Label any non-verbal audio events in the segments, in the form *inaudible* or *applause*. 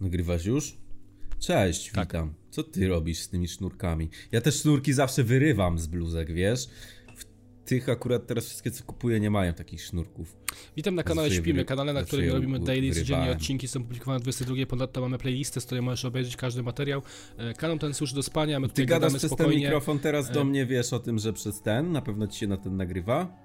Nagrywasz już? Cześć, Tak. witam. Co ty robisz z tymi sznurkami? Ja też sznurki zawsze wyrywam z bluzek, wiesz? W tych akurat teraz wszystkie, co kupuję, nie mają takich sznurków. Witam na kanale Zawsze je Śpimy, wyry- kanale, na zawsze którym je robimy u- daily codziennie wyrywałem. odcinki, są publikowane 22, ponadto mamy playlistę, z której możesz obejrzeć każdy materiał. E, Kanał ten służy do spania, my Ty tutaj gadasz gadamy przez ten spokojnie. E. mikrofon teraz do mnie, wiesz o tym, że przez ten? Na pewno ci się na ten nagrywa?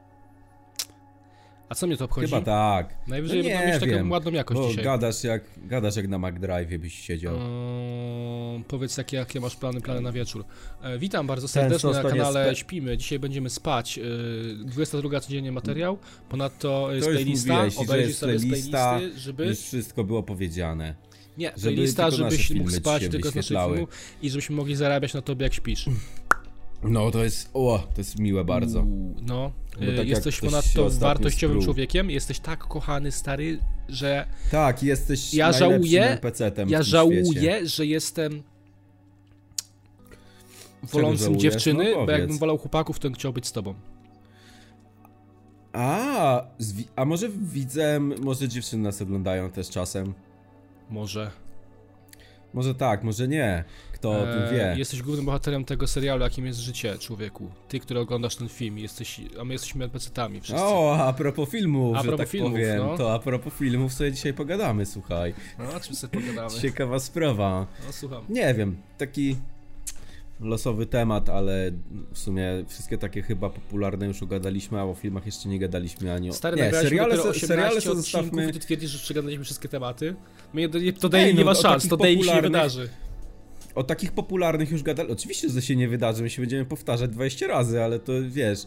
A co mnie to obchodzi? Chyba tak. Najwyżej nie będą mieć taką wiem, ładną jakość bo dzisiaj. Gadasz jak, gadasz jak na McDrive byś siedział. Mm, powiedz jakie, jakie masz plany, plany na wieczór. E, witam bardzo Ten serdecznie na zostań jest kanale spe- Śpimy. Dzisiaj będziemy spać. E, 22 codziennie materiał, ponadto jest To już playlista, mówiłeś, i że obejrzyj jest sobie z playlista, playlisty, żeby... Już wszystko było powiedziane. Nie, Żeby playlista, tylko nasze żebyś filmy mógł ci spać się tylko z naszych wyświetlały. filmów i żebyśmy mogli zarabiać na tobie jak śpisz. No to jest, o, to jest miłe bardzo. Uuu, No, Bo y, tak jak jesteś ktoś się ponadto ostatnio wartościowym spruł. człowiekiem, jesteś tak kochany, stary, że Tak, jesteś Ja najlepszym żałuję- NPC-tem w ja tym żałuję, świecie. że jestem żałujesz? wolącym No dziewczyny, bo powiedz. jakbym wolał chłopaków, to bym chciał być z tobą. A, zwi- a może widzę, może dziewczyny nas oglądają też czasem. Może. Może tak, może nie. Kto o tym wie. E, Jesteś głównym bohaterem tego serialu, jakim jest życie, człowieku. Ty, który oglądasz ten film, jesteś, a my jesteśmy NPC-tami wszyscy. O, a propos filmów, A że propos tak filmów, powiem, no. to a propos filmów sobie dzisiaj pogadamy, słuchaj. No, o czym sobie pogadamy? Ciekawa sprawa. No, słucham. Nie wiem, taki losowy temat, ale w sumie wszystkie takie chyba popularne już ogadaliśmy, a o filmach jeszcze nie gadaliśmy ani o... Stary, No, nie, nagraliśmy seriale, dopiero se- 18 se odcinków i zostawmy... ty twierdzisz, że przegadaliśmy wszystkie tematy? My, nie- to daje Ej, no, nie ma o szans, takich to daje się nie popularnych- wydarzy. O takich popularnych już gadali. Oczywiście, że się nie wydarzy, my się będziemy powtarzać 20 razy, ale to wiesz.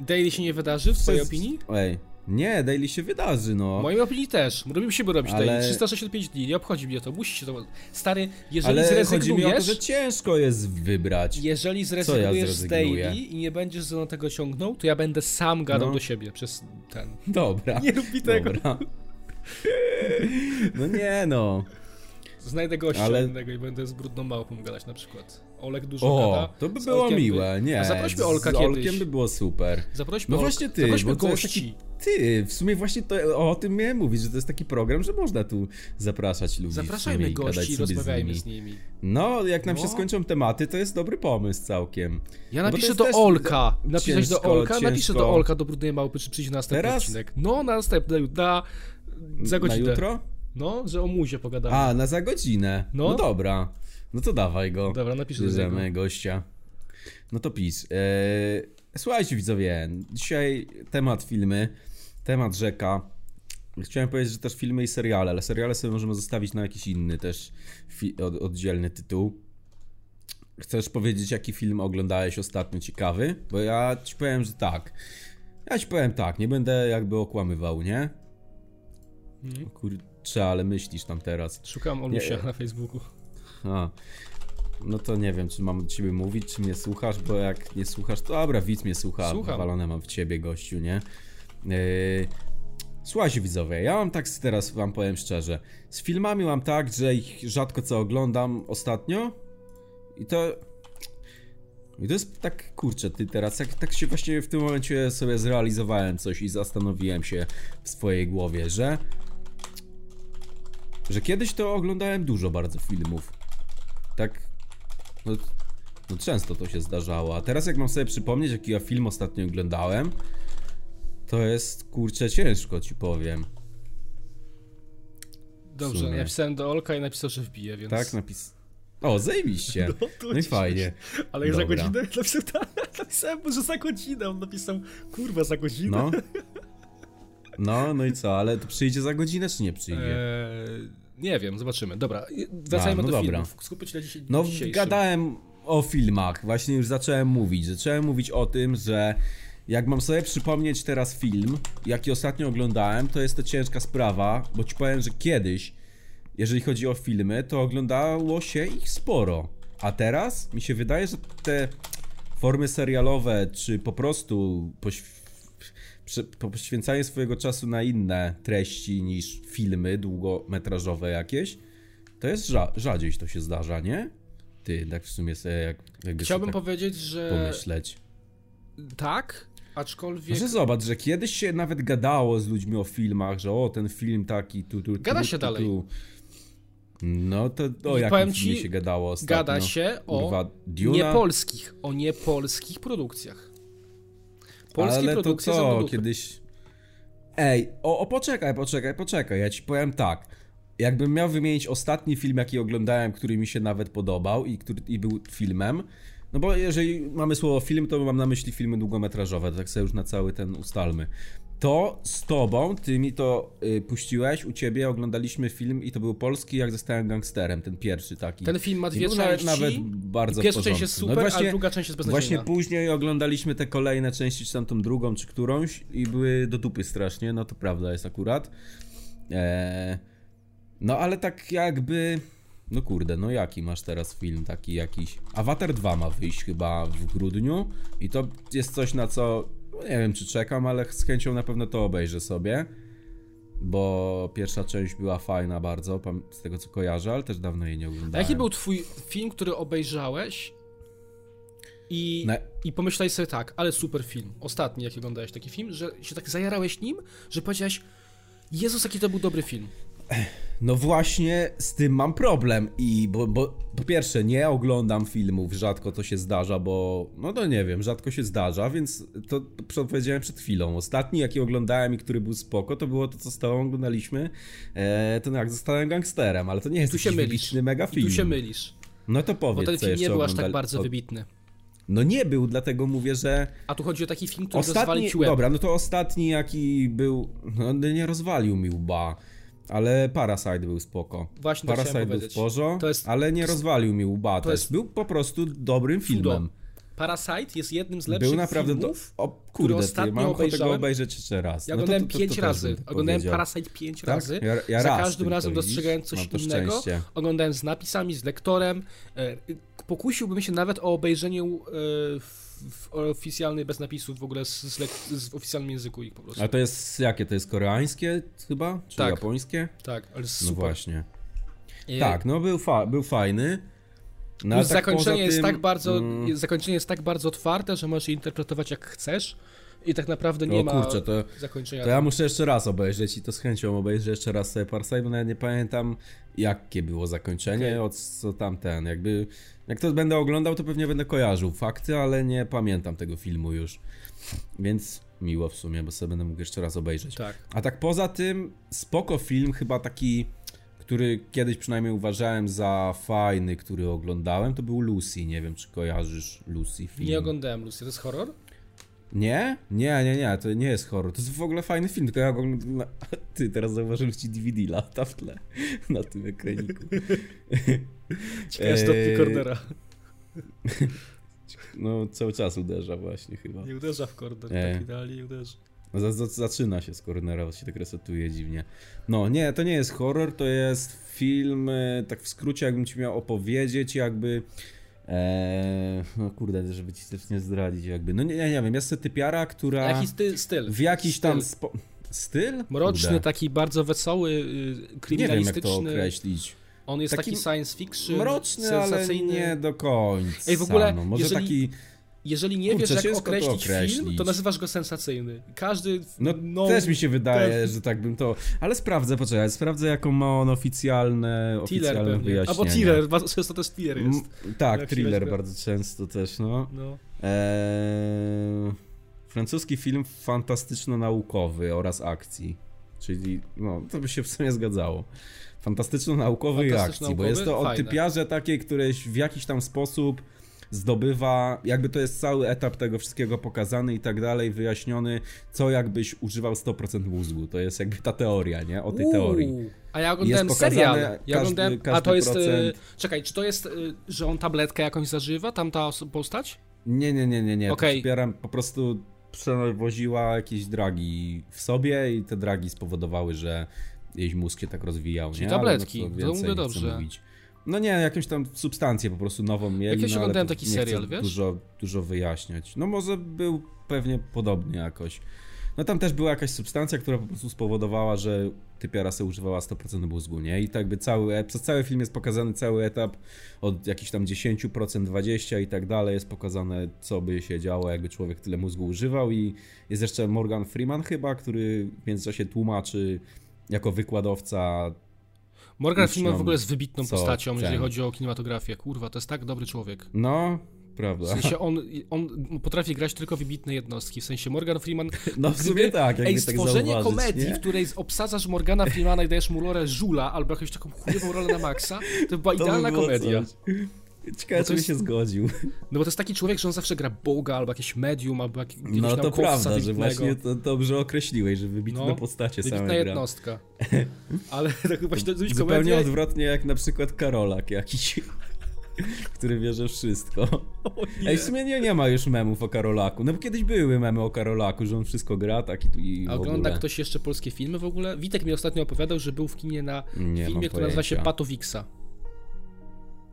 Daily się nie wydarzy, w twojej jest- opinii? Ej, nie, Daily się wydarzy, no. W mojej opinii też. Robimy się by robić Ale- daily. 365 dni, nie obchodzi mnie to. Musi się to... Stary, jeżeli Ale chodzi mi o to, zrezygnujesz... że ciężko jest wybrać. Jeżeli Co ja zrezygnujesz z zrezygnuję? daily i nie będziesz ze mną tego ciągnął, to ja będę sam gadał No. do siebie przez *laughs* ten... Dobra. Nie lubi tego. Dobra. No nie no. Znajdę gościa Ale- innego i będę z brudną małpą gadać na przykład. Olek dużo O, gada. to by z było Olkiem by- miłe, nie. A zaprośmy z- Olka z Olkiem kiedyś. by było super. Zaprośmy No Olka. właśnie ty, Zaprośmy bo to jest gości. taki- Ty, w sumie właśnie to, o tym miałem mówić, że to jest taki program, że można tu zapraszać ludzi. w sumie Zapraszajmy i gadać gości i sobie rozmawiajmy z nimi. No, jak nam się No. skończą tematy, to jest dobry pomysł całkiem. Ja No Bo to napiszę jest do też Olka. za- Napiszesz do ciężko, Olka, napiszę do ciężko. Olka do brudnej małpy, czy przyjdzie na następny Teraz? odcinek. No, na następny, na, za godzinę. Na jutro? No, że o muzie pogadamy. A, na za godzinę. No. No, dobra. No to dawaj go. Dobra, napiszę do Bierzemy gościa. No to pis. Eee, słuchajcie widzowie, dzisiaj temat filmy, temat rzeka. Chciałem powiedzieć, że też filmy i seriale, ale seriale sobie możemy zostawić na jakiś inny też fi- od, oddzielny tytuł. Chcesz powiedzieć, jaki film oglądałeś ostatnio ciekawy? Bo ja ci powiem, że tak. Ja ci powiem tak, nie będę jakby okłamywał, nie? Mhm. Kurczę, ale myślisz tam teraz. Szukam Olusia Nie. na Facebooku. A. No to nie wiem, czy mam do ciebie mówić, czy mnie słuchasz, bo jak nie słuchasz, to dobra, widz mnie słucha, Słucham. walone mam w ciebie, gościu, nie? Yy... Słuchajcie widzowie, ja mam tak z- teraz, wam powiem szczerze, z filmami mam tak, że ich rzadko co oglądam ostatnio i to... I to jest tak, kurczę, ty teraz, jak, tak się właśnie w tym momencie sobie zrealizowałem coś i zastanowiłem się w swojej głowie, że... Że kiedyś to oglądałem dużo bardzo filmów. Tak. No, no często to się zdarzało. A teraz jak mam sobie przypomnieć, jaki ja film ostatnio oglądałem, to jest kurczę ciężko ci powiem. W Dobrze, sumie. napisałem do Olka i napisał, że wbije, więc... Tak napis. O, zajebiście. *laughs* No, No, to i dziś- fajnie. Ale ja za Dobra. godzinę *laughs* napisał, napisałem mu, że za godzinę. On napisał, kurwa, za godzinę. No. No, no i co, ale to przyjdzie za godzinę czy nie przyjdzie? Eee, nie wiem, zobaczymy. Dobra, i- A, wracajmy no do dobra. filmów. Skupmy się na dzisiaj. No, dzisiejszym. gadałem o filmach, właśnie już zacząłem mówić. Zacząłem mówić o tym, że jak mam sobie przypomnieć teraz film, jaki ostatnio oglądałem, to jest to ciężka sprawa, bo ci powiem, że kiedyś, jeżeli chodzi o filmy, to oglądało się ich sporo. A teraz mi się wydaje, że te formy serialowe, czy po prostu poś- prze- poświęcanie swojego czasu na inne treści niż filmy długometrażowe jakieś, to jest rza- rzadziej to się zdarza, nie? Ty, tak w sumie sobie jak, jakby Chciałbym e, sobie powiedzieć, że tak pomyśleć. tak, aczkolwiek... Może zobacz, że kiedyś się nawet gadało z ludźmi o filmach, że o, ten film taki, tu, tu, tu Gada tu, się tu, dalej. Tu. No to o I jakim powiem filmie ci, się gadało ostatnio? Gada się o Kurwa, Duna? niepolskich, o niepolskich produkcjach. Polskie Ale to produkcje są do co, dupy. kiedyś... Ej, o, o poczekaj, poczekaj, poczekaj, ja ci powiem tak. Jakbym miał wymienić ostatni film, jaki oglądałem, który mi się nawet podobał i który i był filmem, no bo jeżeli mamy słowo film, to mam na myśli filmy długometrażowe, to tak sobie już na cały ten ustalmy. To z tobą, ty mi to y, puściłeś, u ciebie oglądaliśmy film i to był polski, jak zostałem gangsterem, ten pierwszy taki. Ten film ma I dwie był części. nawet, nawet bardzo I w Pierwsza część jest porządku. No i super, właśnie- a druga część jest beznadziejna. Właśnie później oglądaliśmy te kolejne części, czy tam tą drugą, czy którąś i były do dupy strasznie, no to prawda jest akurat. Eee, no ale tak jakby... No kurde, no jaki masz teraz film taki jakiś? Avatar 2 ma wyjść chyba w grudniu i to jest coś na co, no nie wiem czy czekam, ale z chęcią na pewno to obejrzę sobie. Bo pierwsza część była fajna bardzo, pam- z tego co kojarzę, ale też dawno jej nie oglądałem. A jaki był twój film, który obejrzałeś i, Na- i pomyślałeś sobie tak, ale super film, ostatni jaki oglądałeś taki film, że się tak zajarałeś nim, że powiedziałeś, Jezus, jaki to był dobry film. No właśnie z tym mam problem i bo, bo po pierwsze nie oglądam filmów, rzadko to się zdarza, bo no to nie wiem, rzadko się zdarza, więc to co powiedziałem przed chwilą. Ostatni jaki oglądałem i który był spoko, to było to co z tobą oglądaliśmy, e, to no jak zostałem gangsterem, ale to nie jest Tu się jakiś mylisz. wybitny mega I film. tu się mylisz, No to bo powiedz ten co film nie jeszcze był aż tak oglądali- bardzo o- wybitny. No nie był, dlatego mówię, że A tu chodzi o taki film, który Ostatni, rozwalił ci łeb. dobra, no to ostatni jaki był, no nie rozwalił mi łba, ale Parasite był spoko. Właśnie to Parasite chciałem był powiedzieć. sporo, To jest- ale nie rozwalił mi łba też. jest Był po prostu dobrym Cudo. filmem. Parasite jest jednym z lepszych Był naprawdę do... filmów. O kurde, ty, ostatnio mam ochotę go obejrzałem. obejrzeć jeszcze raz. Ja No to- oglądałem to- to- to pięć też razy. bym Oglądałem powiedział. Parasite pięć Tak? razy. Ja- ja za raz każdym tylko, razem widzisz? dostrzegałem Mam coś to innego. szczęście. Oglądałem z napisami, z lektorem. E, Pokusiłbym się nawet o obejrzenie e, w, w oficjalnej, bez napisów, w ogóle z, z, lek- z w oficjalnym języku ich po prostu. A to jest, jakie to jest, koreańskie chyba? Czy Tak. japońskie? Tak, ale No super. właśnie. E, Tak, no był, fa- był fajny. No, ale Plus zakończenie, poza jest tym, tak bardzo, mm, zakończenie jest tak bardzo otwarte, że możesz je interpretować jak chcesz i tak naprawdę nie o ma kurczę, to zakończenia. To ja muszę jeszcze raz obejrzeć i to z chęcią obejrzę jeszcze raz sobie Parsaj, bo nawet nie pamiętam jakie było zakończenie, Okej. od co tamten. Jakby, jak to będę oglądał, to pewnie będę kojarzył fakty, ale nie pamiętam tego filmu już. Więc miło w sumie, bo sobie będę mógł jeszcze raz obejrzeć. Tak. A tak poza tym, spoko film, chyba taki, który kiedyś przynajmniej uważałem za fajny, który oglądałem, to był Lucy. Nie wiem, czy kojarzysz Lucy film. Nie oglądałem Lucy, to jest horror? Nie? Nie, nie, nie, to nie jest horror. To jest w ogóle fajny film, tylko ja go oglądam. Ty, teraz zauważyłem ci DVD lata w tle *laughs* na tym ekraniku. Ciekawe, Eee, że to od Recordera. No, cały czas uderza właśnie chyba. Nie uderza w korder, Eee. tak idealnie nie uderza. No, za- za- Zaczyna się z cornera, bo się tak resetuje dziwnie. No, nie, to nie jest horror, to jest film, e, tak w skrócie jakbym ci miał opowiedzieć, jakby... Eee, no kurde, żeby ci też nie zdradzić jakby. No nie, nie, nie wiem, jest typiara, która Jaki sty, styl? w jakiś tam... Styl. Spo... Styl? Mroczny, Kurde. taki bardzo wesoły, y, Nie wiem jak kryminalistyczny. to określić. On jest taki, Taki science fiction, Mroczny, ale sensacyjny. nie do końca. Ej, w ogóle, no, może jeżeli- taki. Jeżeli nie Kurczę, wiesz, jak ciężko to określić, film, określić. to nazywasz go sensacyjny. Każdy... No, no, też mi się wydaje, też- że tak bym to. Ale sprawdzę, poczekaj, sprawdzę, jaką ma on oficjalne, Thriller oficjalne pewnie. wyjaśnienie. Albo thriller, bardzo często też thriller jest. M- tak, Jak thriller thriller. bardzo często też, no. No. Eee, francuski film fantastyczno-naukowy oraz akcji. Czyli, no, to by się w sumie zgadzało. Fantastyczno-naukowy i akcji, bo Fantastyczno-naukowy? jest to o Fajne. typiarze takiej, któreś w jakiś tam sposób zdobywa, jakby to jest cały etap tego wszystkiego pokazany i tak dalej, wyjaśniony, co jakbyś używał 100% mózgu. To jest jakby ta teoria, nie? O tej Uuu, teorii. A ja oglądałem pokazane serial. Ja każdy- oglądałem, a każdy to jest. Y, procent. czekaj, czy to jest, y, że on tabletkę jakąś zażywa, tamta oso- postać? Nie, nie, nie, nie, nie. Okej. Okay. po prostu przewoziła jakieś dragi w sobie i te dragi spowodowały, że jej mózg się tak rozwijał. Czyli nie? tabletki. Ale no To to więcej mówię nie chcę dobrze. Mówić. No nie, jakąś tam substancję po prostu nową mieli. Jakieś no, ale oglądałem to taki nie serial, chcę wiesz? Dużo, dużo wyjaśniać. No może był pewnie podobny jakoś. No tam też była jakaś substancja, która po prostu spowodowała, że typiara se używała 100% mózgu, nie? I tak by cały, przez cały film jest pokazany cały etap od jakichś tam 10%, 20% i tak dalej. Jest pokazane, co by się działo, jakby człowiek tyle mózgu używał i jest jeszcze Morgan Freeman chyba, który w międzyczasie tłumaczy jako wykładowca Morgan Nic Freeman nam. w ogóle jest wybitną Co postacią, jeżeli cenić. chodzi o kinematografię. Kurwa, to jest tak dobry człowiek. No, W prawda. sensie on, on potrafi grać tylko wybitne jednostki. W sensie Morgan Freeman. *laughs* No w sumie gdyby- tak, jakby Ej, tak stworzenie zauważyć, komedii, nie? w której obsadzasz Morgana Freemana i dajesz mu rolę żula albo jakąś taką chujową rolę na maksa, to *laughs* była To by idealna było komedia. coś. Ciekawe, Bo to czy by jest- się zgodził. *laughs* No bo to jest taki człowiek, że on zawsze gra Boga albo jakieś medium, albo jak- jakiegoś No to naukowca prawda, że wybitnego. właśnie to dobrze określiłeś, że wybitne No, postacie Wybitna same gra. jednostka. Ale *laughs* tak właśnie zrobić Zupełnie komedię. odwrotnie jak na przykład Karolak jakiś, *laughs* który wierzy wszystko. *laughs* O nie. Ej, w sumie nie, nie ma już memów o Karolaku. No bo kiedyś były memy o Karolaku, że on wszystko gra, tak i tu i w A ogląda ogóle. ktoś jeszcze polskie filmy w ogóle? Witek mi ostatnio opowiadał, że był w kinie na Nie mam filmie, który nazywa się pojęcia. Patowixa.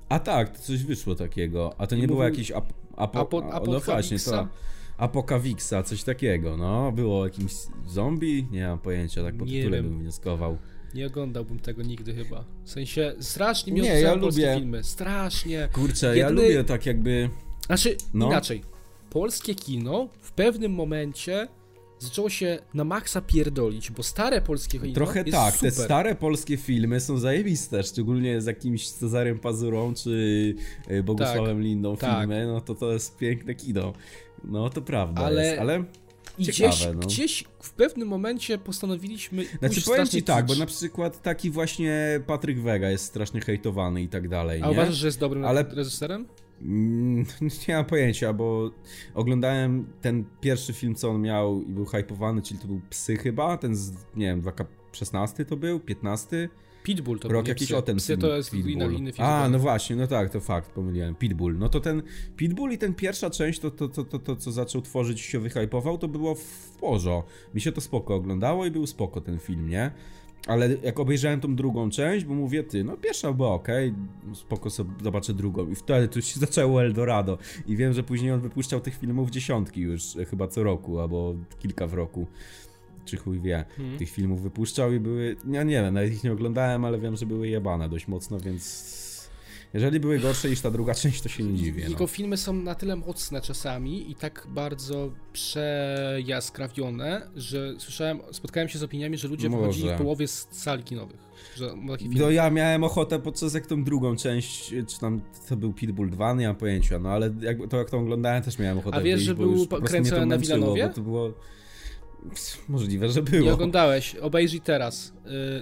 A tak, to coś wyszło takiego. A to nie I było mówił- jakiś ap, apo, Apo- a, no właśnie, to Apokawixa? Apokawixa, coś takiego, no. Było jakimś zombie? Nie mam pojęcia, tak po Nie tytule wiem. bym wnioskował. Nie oglądałbym tego nigdy chyba. W sensie strasznie mi Nie, odrzucają ja polskie lubię. filmy. Strasznie. Kurczę, ja Jedny- lubię tak jakby... Znaczy, No. inaczej. Polskie kino w pewnym momencie zaczęło się na maksa pierdolić, bo stare polskie kino Trochę jest tak, super. te stare polskie filmy są zajebiste, szczególnie z jakimś Cezarem Pazurą czy y, Bogusławem Lindą tak. filmy, no to to jest piękne kino. No to prawda Ale- jest, ale... znaczy I ciekawe, gdzieś, no. gdzieś w pewnym momencie postanowiliśmy Znaczy pójść powiem strasznie ci tak, bo kitsch. na przykład taki właśnie Patryk Wega jest strasznie hejtowany i tak dalej, A nie? uważasz, że jest dobrym Ale- reżyserem? Mm, *laughs* Nie mam pojęcia, bo oglądałem ten pierwszy film, co on miał i był hypowany, czyli to był Psy chyba, ten z, nie wiem, 2016 to był, 15? Pitbull to Rok byli jakiś psy. o tym Psy to jest inny, inny film. A, zupełnie. no właśnie, no tak, to fakt, pomyliłem. Pitbull. No to ten Pitbull i ten pierwsza część, to, to, to, to, to co zaczął tworzyć i się wyhypował, to było w porzo. Mi się to spoko oglądało i był spoko ten film, nie? Ale jak obejrzałem tą drugą część, bo mówię, ty, no pierwsza była okej, spoko sobie zobaczę drugą. I wtedy tu się *laughs* zaczęło Eldorado. I wiem, że później on wypuszczał tych filmów dziesiątki już, e, chyba co roku, albo kilka w roku. Czy chuj wie Mhm. tych filmów wypuszczał i były. Ja nie wiem, nawet ich nie oglądałem, ale wiem, że były jebane dość mocno, więc. Jeżeli były gorsze niż ta druga *laughs* część, to się nie dziwię. Jego No. filmy są na tyle mocne czasami i tak bardzo przejaskrawione, że słyszałem, spotkałem się z opiniami, że ludzie No Może. wychodzili w połowie z sali kinowych. Że ma taki film. No ja miałem ochotę podczas jak tą drugą część, czy tam to był Pitbull 2, nie mam pojęcia, no ale jak, to jak to oglądałem też miałem ochotę A wiesz, wyjść, że bo był już pa- po prostu mnie to kręcony na męczyło, Wilanowie? Bo to było... Pff, Możliwe, że Nie było. oglądałeś, obejrzyj teraz.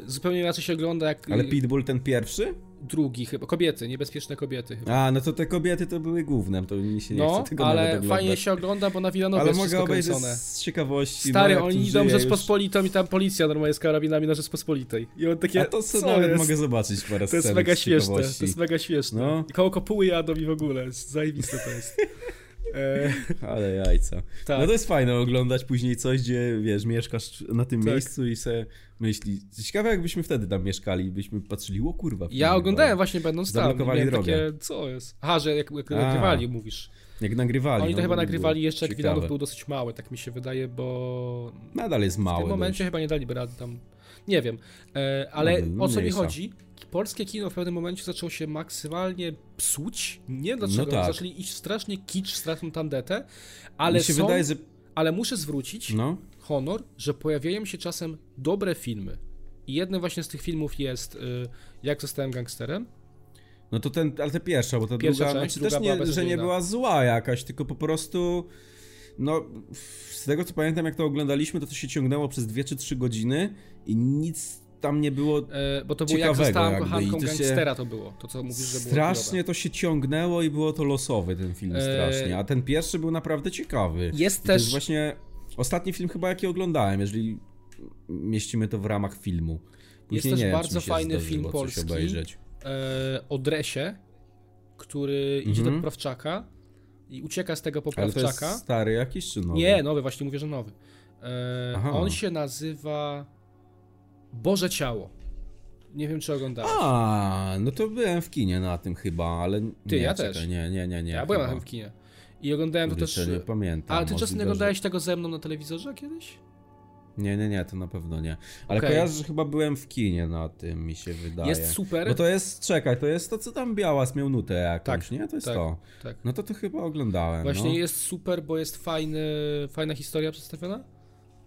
Y, zupełnie inaczej się ogląda jak Ale y, Pitbull ten pierwszy? drugi chyba. Kobiety, niebezpieczne kobiety chyba. A, no to te kobiety to były głównem, to mi się nie No, chce tego nawet ale oglądać. fajnie się ogląda, bo na Wilanowie Ale jest mogę wszystko obejrzeć kręcone. z ciekawości. Stary, no, jak tu oni idą żyje w już. Rzeczpospolitą i tam policja normalnie z karabinami na Rzeczpospolitej. I on takie, A to co co nawet jest? mogę zobaczyć parę To jest scenek mega z śmieszne, to ciekawości. jest mega śmieszne. No. No. Koło kopuły jadą i w ogóle, zajebiste to *laughs* jest. E, Ale jajca. tak. No to jest fajne oglądać później coś, gdzie wiesz, mieszkasz na tym Tak. miejscu i se myśli. Ciekawe jakbyśmy wtedy tam mieszkali, byśmy patrzyli, o kurwa. Ja oglądałem właśnie będąc tam, Zablokowali miałem drogę. takie, co jest? Aha, że jak, jak A. nagrywali, mówisz. Jak nagrywali. Oni to no, chyba było nagrywali jeszcze, jak ciekawe. Winanów był dosyć mały, tak mi się wydaje, bo Nadal jest w mały. tym momencie chyba nie daliby rady tam, nie wiem. E, ale No, no, o co mi mniejsza. chodzi? Polskie kino w pewnym momencie zaczęło się maksymalnie psuć, nie wiem dlaczego, No tak. zaczęli iść w strasznie kicz, straszną tandetę, Ale ale, Mi się są, wydaje, że. ale muszę zwrócić, No. honor, że pojawiają się czasem dobre filmy. I jednym właśnie z tych filmów jest y, Jak zostałem gangsterem. No to ten, ale ta pierwsza, bo ta Pierwsza druga, część, znaczy druga też była nie, że nie beznadziejna. była zła jakaś, tylko po prostu, no z tego co pamiętam, jak to oglądaliśmy, to to się ciągnęło przez 2 czy 3 godziny i nic tam nie było Y, bo to było Jak Ciekawego zostałem jakby i kochanką to się- gangstera to było. To co mówisz, że było Strasznie to się ciągnęło i było to losowe ten film Eee. strasznie, a ten pierwszy był naprawdę ciekawy. chujowe. Jest I To jest też... właśnie ostatni film chyba jaki oglądałem, jeżeli mieścimy to w ramach filmu. Później też nie wiem, czy bardzo mi się fajny zdarzyło film coś polski. Obejrzeć. e, o Dresie, który idzie Mhm. do Prawczaka i ucieka z tego Ale to jest poprawczaka. stary jakiś czy nowy? Nie, nowy, właśnie mówię, że nowy. E, Aha. on się nazywa Boże Ciało. Nie wiem, czy oglądałeś. A, no to byłem w kinie na tym chyba, ale Ty, nie, ja czekaj, też. Nie, nie, nie, nie. ja byłem na chyba. tym w kinie. I oglądałem to też... Kurczę, nie pamiętam. Ale ty czasem możliwe, nie że- oglądałeś tego ze mną na telewizorze kiedyś? Nie, nie, nie, to na pewno nie. Ale Okej. kojarzę, że chyba byłem w kinie na tym, mi się wydaje. Jest super. Bo No to jest, czekaj, to jest to, co tam Białas miał nutę jakąś, Tak, nie? To jest tak. to. Tak. No to to chyba oglądałem, Właśnie no. jest super, bo jest fajny, fajna historia przedstawiona.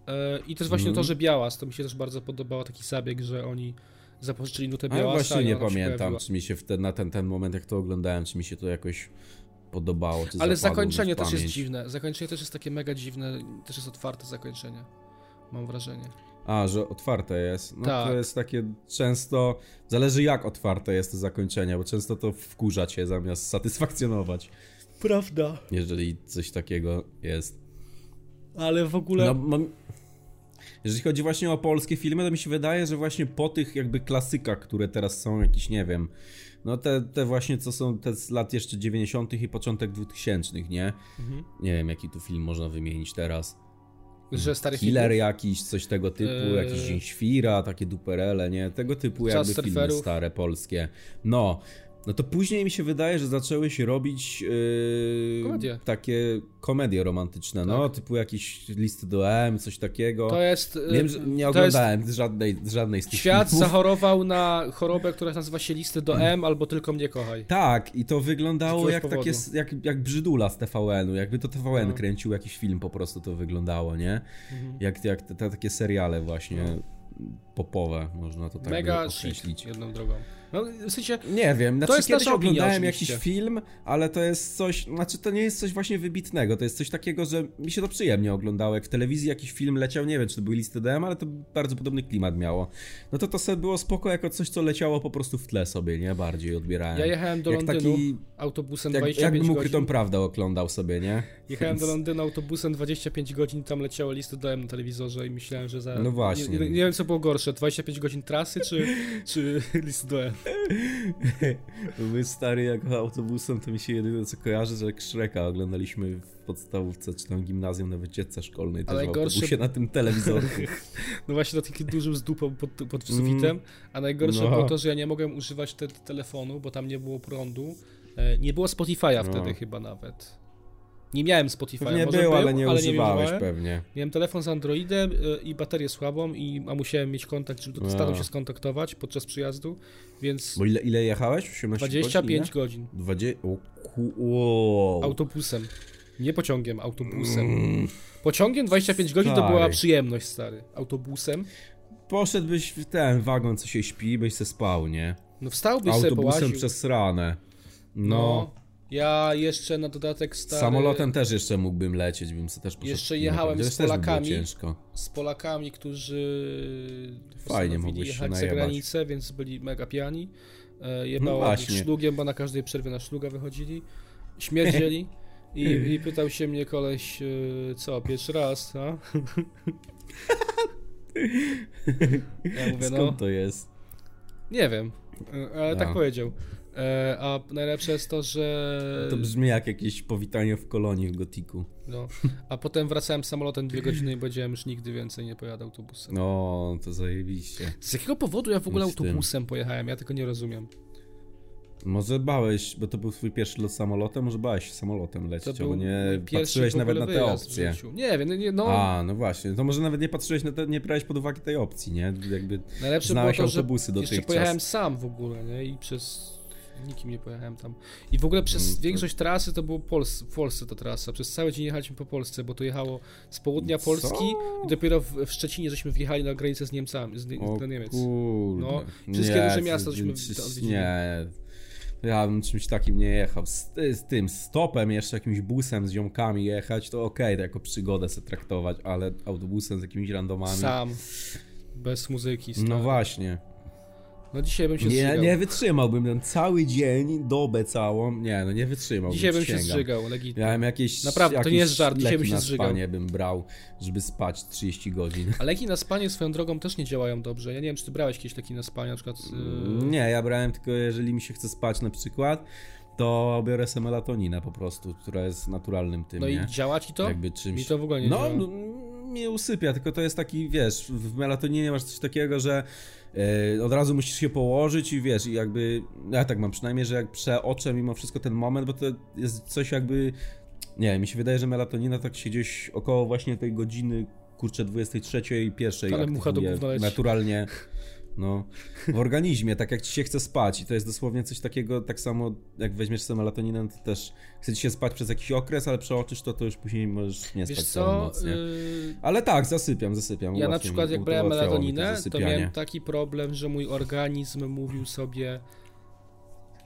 E, I też właśnie Mhm. to, że Białas, to mi się też bardzo podobało taki zabieg, że oni zapożyczyli nutę A ja białasa. właśnie i nie ona tam się pamiętam, pojawiła. czy mi się w ten, na ten, ten moment, jak to oglądałem, czy mi się to jakoś podobało. Czy zapadło mi Ale w zakończenie też jest pamięć. dziwne. Zakończenie też jest takie mega dziwne, też jest otwarte zakończenie. Mam wrażenie. A, że otwarte jest. No Tak. to jest takie często. Zależy jak otwarte jest to zakończenie, bo często to wkurza cię zamiast satysfakcjonować, Prawda. jeżeli coś takiego jest. Ale w ogóle. No, mam... Jeżeli chodzi właśnie o polskie filmy, to mi się wydaje, że właśnie po tych jakby klasykach, które teraz są jakieś, nie wiem, no te, te właśnie co są te z lat jeszcze 90. i początek 2000, nie? Mhm. Nie wiem, jaki tu film można wymienić teraz. że starych No, Killer filmów. jakiś, coś tego typu, Yy. jakiś Dzień Świra, takie duperele, nie? Tego typu Czas jakby filmy surferów. stare, polskie. No, no to później mi się wydaje, że zaczęły się robić yy, Komedie. Tak. takie komedie romantyczne, no, typu jakieś listy do M, coś takiego. To jest. y, Wiem, że nie to jest oglądałem żadnej, żadnej z tych Świat filmów. zachorował na chorobę, która nazywa się listy do M albo tylko mnie kochaj. *laughs* Tak, i to wyglądało Z jak jakiegoś takie, s- jak, jak brzydula z TVN-u, jakby to TVN No. kręcił jakiś film po prostu to wyglądało, nie? Mhm. Jak, jak te, te takie seriale właśnie popowe, można to tak by No. Mega shit, określić. jedną drogą. No, w sensie, Nie wiem, znaczy jest kiedyś nasza opinia, oglądałem oczywiście. jakiś film, ale to jest coś, znaczy to nie jest coś właśnie wybitnego, to jest coś takiego, że mi się to przyjemnie oglądało, jak w telewizji jakiś film leciał, nie wiem czy to były listy DM, ale to bardzo podobny klimat miało. No to to sobie było spoko jako coś, co leciało po prostu w tle sobie, nie? Bardziej odbierałem. ja jechałem do E, jak Londynu taki, autobusem jak, 25 jakbym godzin. ukrytą prawdę oglądał sobie, nie? Jechałem do Więc- Londynu autobusem 25 godzin, tam leciały listy dałem na telewizorze i myślałem, że za... No właśnie. Nie, nie, nie wiem, co było gorsze, 25 godzin trasy czy, czy *laughs* listy dałem. My stary, jak autobusem, to mi się jedyne co kojarzy, że jak Shreka oglądaliśmy w podstawówce czy tam gimnazjum na wycieczce szkolnej, też Ale w gorszy- autobusie na tym *laughs* telewizorze. No właśnie na takim dużym z dupą pod, pod sufitem, a najgorsze No. było to, że ja nie mogłem używać te, telefonu, bo tam nie było prądu, e, nie było Spotify'a No. wtedy chyba nawet. Nie miałem Spotify'a, Pewnie może był, był, ale nie używałeś używałem. pewnie. Miałem telefon z Androidem y, i baterię słabą, i, a musiałem mieć kontakt, żeby do, A. staram się skontaktować podczas przyjazdu, więc Bo ile, ile jechałeś? 18 25 godzin godzin? nie? 20... O, ku... wow. autobusem. Nie pociągiem, autobusem. Pociągiem 25 godzin to była Mm. Stary. przyjemność, stary. Autobusem. Poszedłbyś w ten wagon, co się śpi, byś se spał, nie? No wstałbyś sobie, Autobusem połaził. przez ranę. No, No. Ja jeszcze na dodatek stary, samolotem też jeszcze mógłbym lecieć, bym se też poszedł. Jeszcze na jechałem pewno. Też z by było Polakami. ciężko. z Polakami, którzy Fajnie, postanowili mogłeś się jechać za najebać. granicę, więc byli mega pijani. E, No Jebało ich właśnie. szlugiem, bo na każdej przerwie na szluga wychodzili. *laughs* Śmierdzieli. I, I pytał się mnie koleś, e, co, pierwszy raz, *laughs* a? Ja mówię, no, Skąd to No. jest? nie wiem, E, ale tak A. powiedział. E, A najlepsze jest to, że... To brzmi jak jakieś powitanie w kolonii w gotiku. No. A potem wracałem samolotem dwie godziny i powiedziałem, że nigdy więcej nie pojadę autobusem. No, to zajebiście. Z jakiego powodu ja w ogóle Nic z tym. autobusem pojechałem? Ja tego nie rozumiem. Może bałeś, bo to był twój pierwszy lot samolotem, może bałeś się samolotem To lecieć, był albo nie mój pierwszy patrzyłeś w ogóle nawet na te wyjazd w opcje. życiu. Nie wiem, nie, no. A, no właśnie, to może nawet nie patrzyłeś na te, nie brałeś pod uwagę tej opcji, nie? Jakby Najlepsze było znałeś to, że autobusy jeszcze dotychczas. pojechałem sam w ogóle, nie? I przez nikim nie pojechałem tam. I w ogóle Mm, przez większość trasy to było Pols w Polsce ta trasa. Przez cały dzień jechaliśmy po Polsce, bo to jechało z południa Co? Polski i dopiero w, w Szczecinie żeśmy wjechali na granicę z Niemcami, z, O z, na Niemiec. kurde. No, wszystkie Nie, duże miasta to- żeśmy czy- to odwiedzili. Nie, ja bym czymś takim nie jechał. Z, ty- z tym stopem, jeszcze jakimś busem z ziomkami jechać, to okej, to jako przygodę se traktować, ale autobusem z jakimiś randomami... Sam. Bez muzyki. stary. No właśnie. No dzisiaj bym się Nie, zżygał. nie wytrzymałbym ten cały dzień, dobę całą. Nie, no nie wytrzymałbym. dzisiaj bym się przysięgam. zżygał, legitnie. Miałem jakieś. Naprawdę, to jakieś nie jest żart, dzisiaj leki bym się na zżygał. spanie bym brał, żeby spać 30 godzin. A leki na spanie swoją drogą też nie działają dobrze. Ja nie wiem, czy ty brałeś jakieś leki na spanie, na przykład... Yy... Nie, ja brałem tylko, jeżeli mi się chce spać na przykład, to biorę sobie melatoninę po prostu, która jest naturalnym tym. No nie? i działa ci to? Jakby czymś... Mi to w ogóle nie No, działa. m- mnie usypia, tylko to jest taki, wiesz, w melatoninie masz coś takiego, że e, od razu musisz się położyć i wiesz, i jakby, ja tak mam przynajmniej, że jak przeoczę mimo wszystko ten moment, bo to jest coś jakby, nie wiem, mi się wydaje, że melatonina tak się gdzieś około właśnie tej godziny, kurczę, 23 i 1 Ale mucha do aktywuje gówna leci. *laughs* naturalnie. No, *laughs* w organizmie, tak jak ci się chce spać i to jest dosłownie coś takiego, tak samo jak weźmiesz sobie melatoninę, to też chce ci się spać przez jakiś okres, ale przeoczysz to, to już później możesz nie Wiesz spać całą co, noc, nie? y, Ale tak, zasypiam, zasypiam. ja na Ułatwia mi- przykład jak u- brałem ułatwiało mi to melatoninę, to zasypianie. miałem taki problem, że mój organizm mówił sobie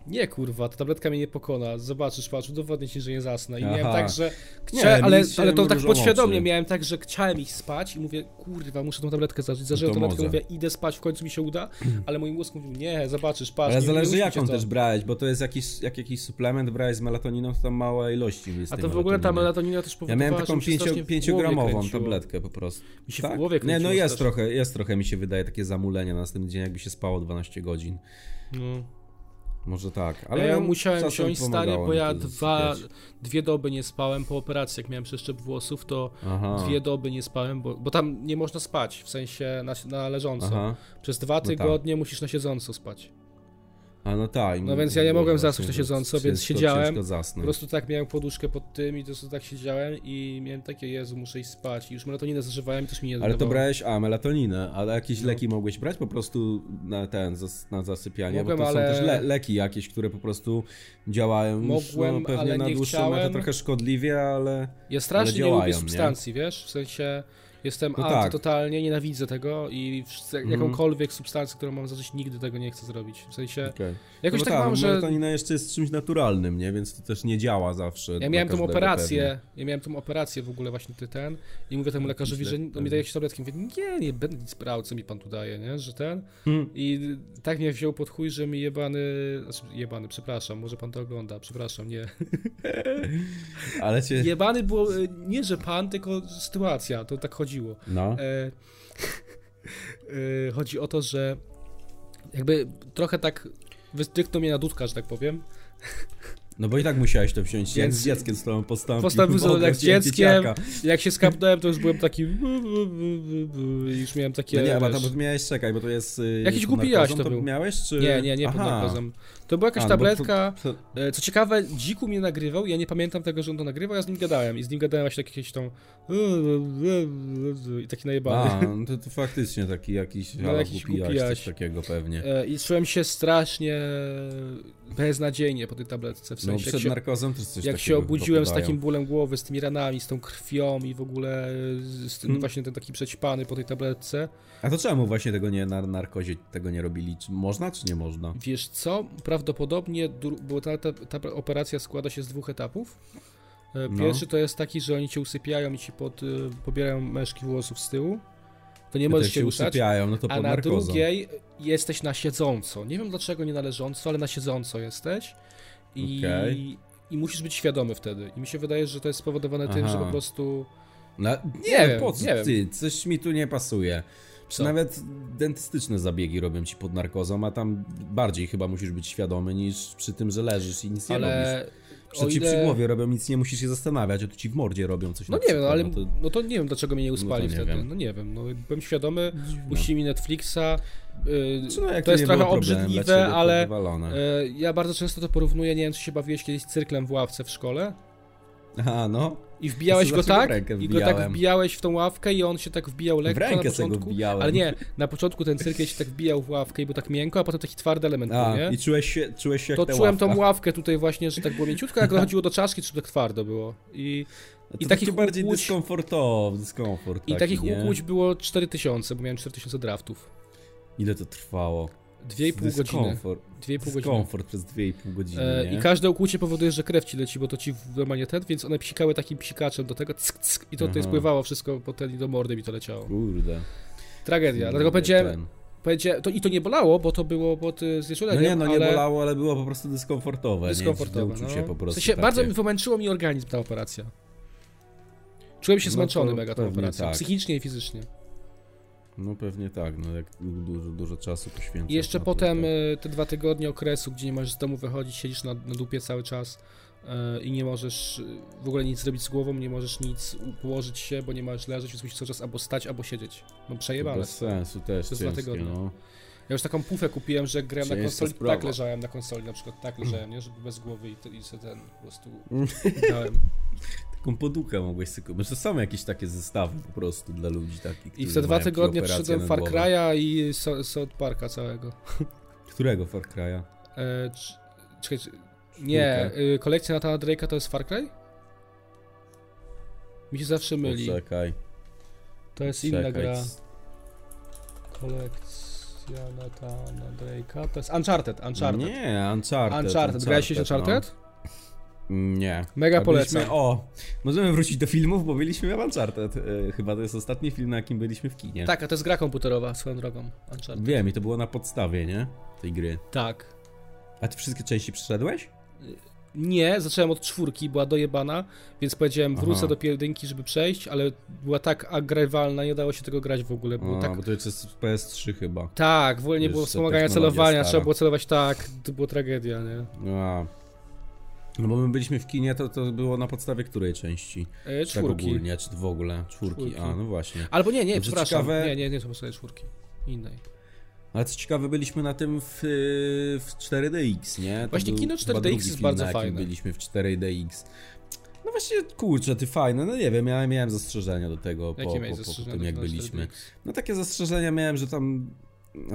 nie kurwa, ta tabletka mnie nie pokona, zobaczysz, patrz, udowodnię ci, że nie zasnę. I miałem Aha. tak, że Nie, chciałem, mi ale, się ale to tak mrużą podświadomie oczy. miałem tak, że chciałem iść spać i mówię, kurwa, muszę tą tabletkę zażyć, zażyłem No to tabletkę, może. mówię, idę spać, w końcu mi się uda, ale mój mózg mówił, nie, zobaczysz, patrz. Ale nie- zależy nie jaką uśmiech się też to. brałeś, bo to jest jakiś, jak jakiś suplement brałeś z melatoniną, to tam małe ilości jest A tej to w ogóle ta melatoniny. melatonina też Ja powodowała, miałem że taką mi się strasznie pięcio, w głowie pięciogramową kręciło. tabletkę po prostu. Mi się w głowie Nie, kręciło no jest strasznie. trochę, jest trochę mi się wydaje takie zamulenie na następny dzień, jakby się spało 12 godzin. No. Może tak, ale Ale ja musiałem czasem wziąć stary, pomagało bo mi ja to dwa, zasypiać. dwie doby nie spałem po operacji, jak miałem przeszczep włosów, to Aha. dwie doby nie spałem, bo, bo tam nie można spać, w sensie na, na leżąco. Aha. Przez dwa tak. tygodnie musisz na siedząco spać. A no tak. No więc ja nie mogłem zasnąć na siedząco, więc ciężko- siedziałem. Ciężko Po zasnąć. prostu tak miałem poduszkę pod tym i po prostu tak siedziałem i miałem takie, Jezu, muszę iść spać. I już melatoninę zażywałem i też mi nie Ale to dawało. brałeś, a, melatoninę, ale jakieś No. leki mogłeś brać po prostu na ten, zas, na zasypianie, Mogłem, bo to ale- są też le, leki jakieś, które po prostu działają już, Mogłem, no, pewnie ale na nie dłuższą chciałem. metę trochę szkodliwie, ale... Ja strasznie działają, nie lubię nie? substancji, wiesz? W sensie jestem No anty tak. Mhm. totalnie, nienawidzę tego i wszyscy- jakąkolwiek substancję, którą mam zażyć, nigdy tego nie chcę zrobić. W sensie Okej. jakoś no bo tak ta, mam, że Melatonina jeszcze jest czymś naturalnym, nie? Więc to też nie działa zawsze. ja dla miałem tą każdego operację, pewnie. No, ja miałem tą operację w ogóle właśnie ty ten i mówię temu lekarzowi, że on mi daje jakieś tabletki, mówię, nie, nie będę nic brał, co mi pan tu daje, nie, że ten Hmm. i tak mnie wziął pod chuj, że mi jebany, znaczy jebany, przepraszam, może pan to ogląda, przepraszam, *laughs* nie, Ale cię... jebany było, e, nie, że pan, tylko sytuacja, to tak chodziło. No. E, *laughs* e, chodzi o to, że jakby trochę tak wystryknął mnie na dudka, że tak powiem. no bo i tak musiałeś to wziąć, jak Więc- z dzieckiem z tobą postąpił. Postąpił Boga, sobie tak z wziąłem dzieckiem. dzieciaka. Jak się skapnąłem, to już byłem taki. bu, bu, bu, bu, bu, i Już miałem takie. No nie, bo wiesz, to bo miałeś, czekaj, bo to jest... y, Jakiś pod głupi narkozą jaś to był. miałeś, czy... nie, nie, nie pod Aha. narkozem. To była jakaś A, no bo to- tabletka. to- e, Co ciekawe, dziku mnie nagrywał. Ja nie pamiętam tego, że on to nagrywał. Ja z nim gadałem. I z nim gadałem właśnie tak jakieś tą. I taki najebany. A, no to, to faktycznie taki jakiś No, no, jakiś jakiś głupi głupi jaś. jaś, coś takiego pewnie. E, I czułem się strasznie beznadziejnie po tej tabletce. W No sensie, jak przed się narkozą też coś Jak takiego się chyba obudziłem z podają. takim bólem głowy, z tymi ranami, z tą krwią i w ogóle e, z, z tym, Hmm. właśnie ten taki przećpany po tej tabletce. A to czemu właśnie tego nie, na narkozie tego nie robili? Czy można, czy nie można? Wiesz co? Prawdopodobnie, dru- bo ta, ta, ta operacja składa się z dwóch etapów. E, No. Pierwszy to jest taki, że oni cię usypiają i ci pod, e, pobierają meszki włosów z tyłu. To nie Ja możesz też się się ruszać. usypiają, no to A pod na narkozą. drugiej jesteś na siedząco. Nie wiem dlaczego nie na leżąco, ale na siedząco jesteś. I, Okej. i musisz być świadomy wtedy. I mi się wydaje, że to jest spowodowane tym, że Aha. po prostu. Na... Nie Nie, wiem, po co nie wiem. ty? Coś mi tu nie pasuje. Co? Czy nawet dentystyczne zabiegi robią ci pod narkozą, a tam bardziej chyba musisz być świadomy niż przy tym, że leżysz i nic nie robisz. ale Przecież ci przy głowie robią, nic nie musisz się zastanawiać, a tu ci w mordzie robią coś No na nie wiem, no, przykład, ale no to- no to nie wiem dlaczego mnie nie uspali nie wtedy. wiem. No nie wiem, no byłem świadomy, puścili mi Netflixa. Yy, Czy no, jak to jest nie trochę było problemu, dla ciebie obrzydliwe, to ale wywalone. yy, ja bardzo często to porównuję, nie wiem czy się bawiłeś kiedyś cyrklem w ławce w *laughs* szkole A no. i wbijałeś Ja sobie go zawsze w tak rękę i go tak wbijałem. wbijałeś w tą ławkę i on się tak wbijał lekko na rękę sobie go początku. wbijałem. Ale nie, na początku ten cyrkiel się tak wbijał w ławkę i był tak miękko, a potem taki twardy element A, był, no nie? i czułeś się, czułeś się jak To ta czułem ławka. tą ławkę tutaj właśnie, że tak było mięciutko, *laughs* jak dochodziło do czaszki, czy tak twardo było. I To taki i takich bardziej ukłuć- dyskomfortowo, dyskomfort I taki, takich Tak, nie? ukłuć było 4000, bo miałem 4000 draftów. Ile to trwało? 2,5 godziny. Dyskomfort. 2,5 godziny. Dyskomfort przez 2,5 godziny, E, nie? I każde ukłucie powoduje, że krew ci leci, bo to ci w- normalnie ten, więc one psikały takim psikaczem do tego ck, ck, i to tutaj Aha. spływało wszystko po ten i do mordy mi to leciało. Kurde. Tragedia. Ten. Dlatego powiedziałem, powiedziałem to, i to nie bolało, bo to było pod y, No znieczuleniem, nie, no nie ale bolało, ale było po prostu dyskomfortowe, dyskomfortowe. nie? No. Czuł się po w prostu sensie, takie. bardzo mi wymęczyło mi organizm ta operacja. Czułem się No zmęczony to mega tą pewnie operacją, tak. psychicznie i fizycznie. No pewnie tak, no jak dużo, dużo czasu poświęcasz. I jeszcze na to, potem to- y, te dwa tygodnie okresu, gdzie nie możesz z domu wychodzić, siedzisz na, na dupie cały czas y, i nie możesz y, w ogóle nic zrobić z głową, nie możesz nic u- położyć się, bo nie możesz leżeć, więc musisz cały czas albo stać, albo siedzieć. No to przejebane. bez sensu też Przez dwa ciężkie, tygodnie. no. Ja już taką pufę kupiłem, że jak grałem na Ciężka konsoli, sprawa. tak leżałem *laughs* na konsoli, na przykład tak leżałem, nie? Żeby bez głowy i, te, i se ten po prostu dałem. Taką podukę mogłeś sobie kupić. To są jakieś takie zestawy po prostu dla ludzi takich, I w te którzy dwa mają tygodnie operacje przyszedłem na Far głowę. Cry'a i So- South Parka całego. Którego Far Cry'a? E, cz- czekaj, czy- nie, Czwórkę. y, kolekcja Natana Drake'a to jest Far Cry? Mi się zawsze myli. Poczekaj. To jest inna Czekaj. No gra. Kolekcja Natana Drake'a to jest Uncharted, Uncharted. Nie, No. Uncharted. Uncharted. Grałeś się w Uncharted? No. Nie. Mega A byliśmy- polecam. O, możemy wrócić do filmów, bo byliśmy w Uncharted. E, Chyba to jest ostatni film, na jakim byliśmy w kinie. Tak, a to jest gra komputerowa, swoją drogą. Uncharted. Wiem, i to było na podstawie, nie? Tej gry. Tak. A ty wszystkie części przeszedłeś? Nie, zacząłem od czwórki, była dojebana, więc powiedziałem, Aha. wrócę do jedynki, żeby przejść, ale była tak agrywalna, nie dało się tego grać w ogóle, było O, tak... bo to jest z PS3 chyba. Tak, w ogóle nie Jest było to wspomagania technologia celowania, stara. trzeba było celować tak, to była tragedia, nie? A. No bo my byliśmy w kinie, to, to było na podstawie której części? E, Tak czwórki. ogólnie, czy w ogóle? Czwórki. Czwórki. A, no właśnie. Albo nie, nie, Dobrze, przepraszam, ciekawe- nie, nie, nie, to są sobie czwórki, innej. Ale co ciekawe, byliśmy na tym w, y, w 4DX, nie? To Właśnie był kino chyba 4DX drugi jest film, bardzo na jakim fajne. byliśmy w 4DX. No właśnie, kurczę, ty fajne, no nie wiem, ja miałem zastrzeżenia do tego po, Jakie miałeś po, po, po zastrzeżenia tym, do jak Final byliśmy. 4DX? No takie zastrzeżenia miałem, że tam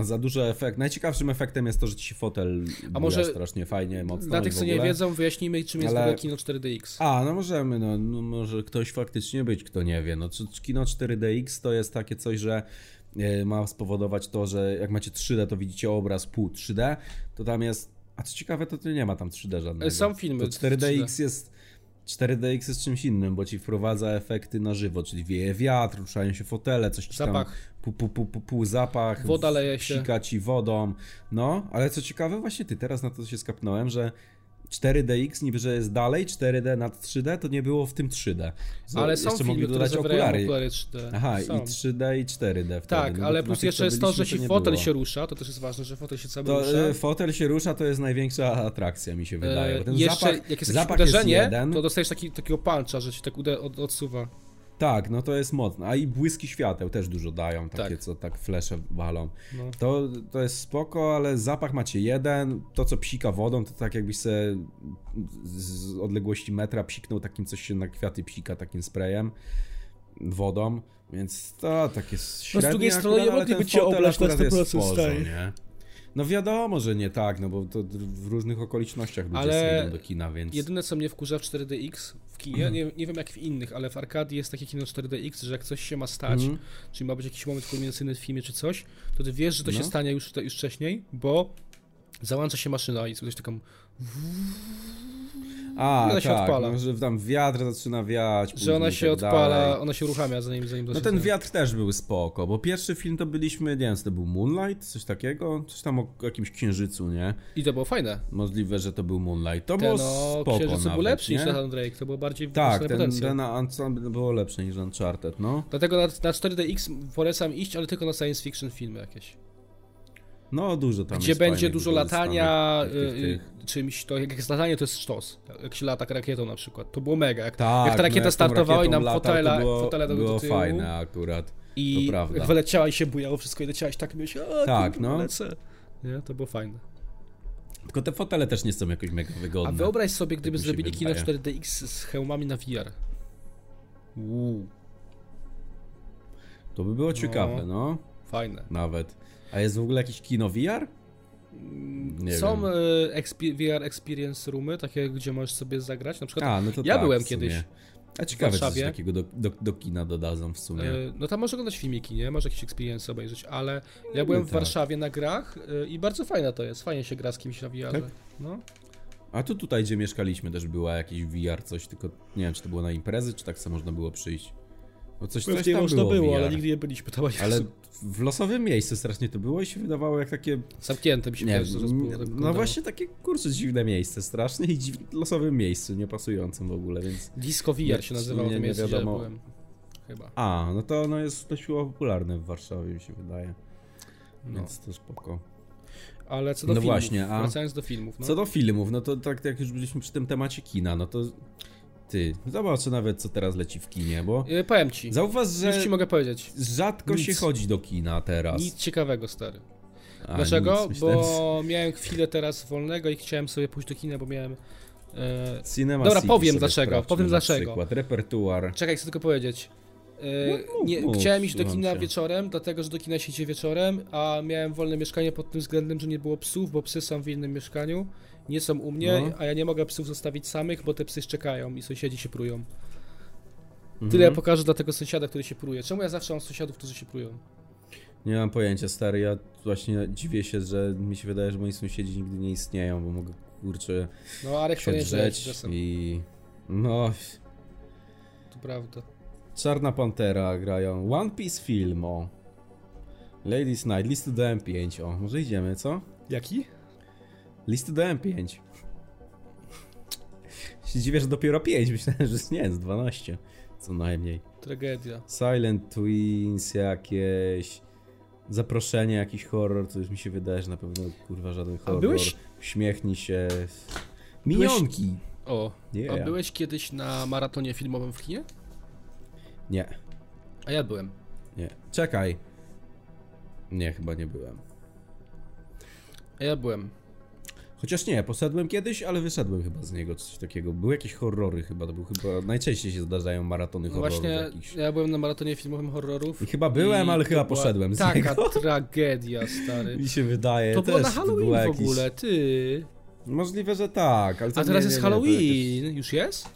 za dużo efekt. Najciekawszym efektem jest to, że ci się fotel A może strasznie fajnie, mocno Dla i tych, w co nie ogóle. wiedzą, wyjaśnijmy, czym jest Ale- w ogóle kino 4DX. A, no możemy, no, no może ktoś faktycznie być, kto nie wie. No, czy- czy kino 4DX to jest takie coś, że e, ma spowodować to, że jak macie 3D, to widzicie obraz pół 3D, to tam jest... A co ciekawe, to, to nie ma tam 3D żadnego. E, Są filmy To w 4DX jest... 4DX jest czymś innym, bo ci wprowadza efekty na żywo, czyli wieje wiatr, ruszają się fotele, coś ci tam... Zapach. Pu, pu, pu, pu, pu, zapach. Woda leje się. Psika ci wodą. No, ale co ciekawe, właśnie ty, teraz na to się skapnąłem, że 4DX niby, że jest dalej, 4D nad 3D, to nie było w tym 3D. Z- Ale są jeszcze filmy, mogli które dodać zawierają okulary. okulary 3D. Aha, są. i 3D i 4D wtedy. Tak, no bo ale na plus tych, co jeszcze jest to, że byliśmy, ci nie fotel było. się rusza, to też jest ważne, że fotel się cały To rusza. y, fotel się rusza, to jest największa atrakcja, mi się wydaje. E, bo Ten jeszcze zapach, jak jest jakieś zapach jest uderzenie, jeden. to dostajesz taki, takiego puncha, że się tak ude, od, odsuwa. Tak, no to jest mocne. A i błyski świateł też dużo dają, takie Tak. co tak flesze walą. No. To, to jest spoko, ale zapach macie jeden. To, co psika wodą, to tak jakbyś se z- z odległości metra psiknął takim, coś się na kwiaty psika takim sprayem wodą, więc to takie średnie No drugiej strony akurat, nie ale mogliby ten cię fotel oblać na akurat jest 100% spoko, staje. nie? No wiadomo, że nie tak, no bo to w różnych okolicznościach ludzie Ale sobie idą do kina, więc... Jedyne, co mnie wkurza w 4DX w Mhm. kinie, nie, nie wiem jak w innych, ale w Arkadii jest takie kino 4DX, że jak coś się ma stać, Mhm. czyli ma być jakiś moment kulminacyjny w filmie czy coś, to ty wiesz, że to się No. stanie już, już wcześniej, bo załącza się maszyna i słyszeć taką A, ona tak, się odpala. No, że tam wiatr zaczyna wiać, później Że ona i się tak odpala, dalej. ona się uruchamia zanim, zanim No dosyć- ten wiatr też był spoko, bo pierwszy film to byliśmy, nie wiem, czy to był Moonlight, coś takiego, coś tam o jakimś księżycu, nie? I to było fajne. Możliwe, że to był Moonlight. To Ten było o spoko księżycu nawet, był lepszy nie? niż Nathan Drake, to było bardziej Tak, wykorzystane ten, potencjał. ten ensemble było lepszy niż Uncharted, no. Dlatego na, na 4DX polecam iść, ale tylko na science fiction filmy jakieś. No dużo tam Gdzie jest będzie fajnych dużo wykorzystanych latania tych- tych- y, tych. y, czymś, to jak jest latanie to jest sztos. Jak się lata rakietą na przykład. To było mega. Jak, Tak, jak ta rakieta no, tą startowała i rakietą nam latał, to fotela, było, fotela do, było do tyłu. fajne akurat. I to prawda. jak wyleciała i się bujało wszystko i leciałaś tak myślę, o Tak, kurwa, no. lecę. Nie, to było fajne. Tylko te fotele też nie są jakoś mega wygodne. A wyobraź sobie, gdyby Tak mi się zrobili kino wydaje. 4DX z hełmami na VR. Uuu, To by było ciekawe, no. fajne. Nawet. A jest w ogóle jakieś kino VR? Nie Są wiem. e, expi- VR Experience Roomy, takie, gdzie możesz sobie zagrać. Na przykład, A, no to e, ja tak, byłem w sumie. kiedyś A ciekawe, czy coś Warszawie. takiego do, do, do kina dodadzą w e, sumie. no tam możesz oglądać filmiki, nie? Możesz jakieś experience obejrzeć, ale ja byłem w tak. Warszawie na grach e, i bardzo fajne to jest. Fajnie się gra z kimś na VR. Tak? No. A tu tutaj, gdzie mieszkaliśmy, też była jakieś VR coś, tylko nie wiem, czy to było na imprezy, czy tak samo można było przyjść. Bo coś, coś tam można było, było, VR. ale nigdy nie byliśmy tam ani Ale razu. w losowym miejscu strasznie to było i się wydawało jak takie... Zamknięte mi się Nie, nie, zaraz było. tak no wyglądało. właśnie takie, kurczę, dziwne miejsce strasznie i dziw, losowym miejscu, niepasującym w ogóle, więc... Disco VR Nie, się nazywało nie- to nie miejsce, gdzie wiadomo. byłem. Chyba. A, no to ono jest dość chyba popularne w Warszawie, mi się wydaje. No. Więc to spoko. Ale co do No filmów, właśnie, a- wracając do filmów, no. Co do filmów, no to tak jak już byliśmy przy tym temacie kina, no to ty, zobaczę nawet co teraz leci w kinie, bo E, powiem ci, zauważ, że już ci mogę powiedzieć, rzadko Nic. się chodzi do kina teraz. nic ciekawego, stary. A, Dlaczego? nic, myślałem, bo miałem chwilę teraz wolnego i chciałem sobie pójść do kina, bo miałem E, Cinema Dobra, City powiem sobie dlaczego, sprawdźmy powiem na dlaczego. Przykład. Repertuar. Czekaj, chcę tylko powiedzieć. E, No, mów, nie, mów, chciałem iść do słucham kina cię. wieczorem, dlatego że do kina się idzie wieczorem, a miałem wolne mieszkanie pod tym względem, że nie było psów, bo psy są w innym mieszkaniu, nie są u mnie, No. a ja nie mogę psów zostawić samych, bo te psy szczekają i sąsiedzi się prują. Mhm. Tyle ja pokażę dla tego sąsiada, który się pruje. Czemu ja zawsze mam sąsiadów, którzy się prują? Nie mam pojęcia, stary. Ja właśnie dziwię się, że mi się wydaje, że moi sąsiedzi nigdy nie istnieją, bo mogę kurczę No, Arek się powinien żyć drzeć czasem, i. No. to prawda. Czarna Pantera grają. One Piece film, o. Ladies Night, listy do M5, o. Może idziemy, co? Jaki? Listy do M5. *laughs* Się dziwię, że dopiero 5. *laughs* Myślałem, że jest nie, jest 12. Co najmniej. Tragedia. Silent Twins jakieś. Zaproszenie, jakiś horror, co już mi się wydaje, że na pewno kurwa żaden horror. byłeś- Uśmiechnij się. Minionki. O, Yeah. a byłeś kiedyś na maratonie filmowym w kinie? Nie, A ja byłem. nie. Czekaj. Nie, chyba nie byłem. A ja byłem. Chociaż nie, poszedłem kiedyś, ale wyszedłem chyba z niego, coś takiego. Były jakieś horrory chyba, to był chyba... Najczęściej się zdarzają maratony No horrorów właśnie, jakichś. ja byłem na maratonie filmowym horrorów. I chyba byłem, I ale to chyba była poszedłem z Taka niego. *laughs* tragedia, stary. Mi się wydaje, e, To też było na Halloween było w jakieś- ogóle, ty. Możliwe, że tak, ale to A nie- teraz nie, jest nie, to jakieś- Halloween, już jest?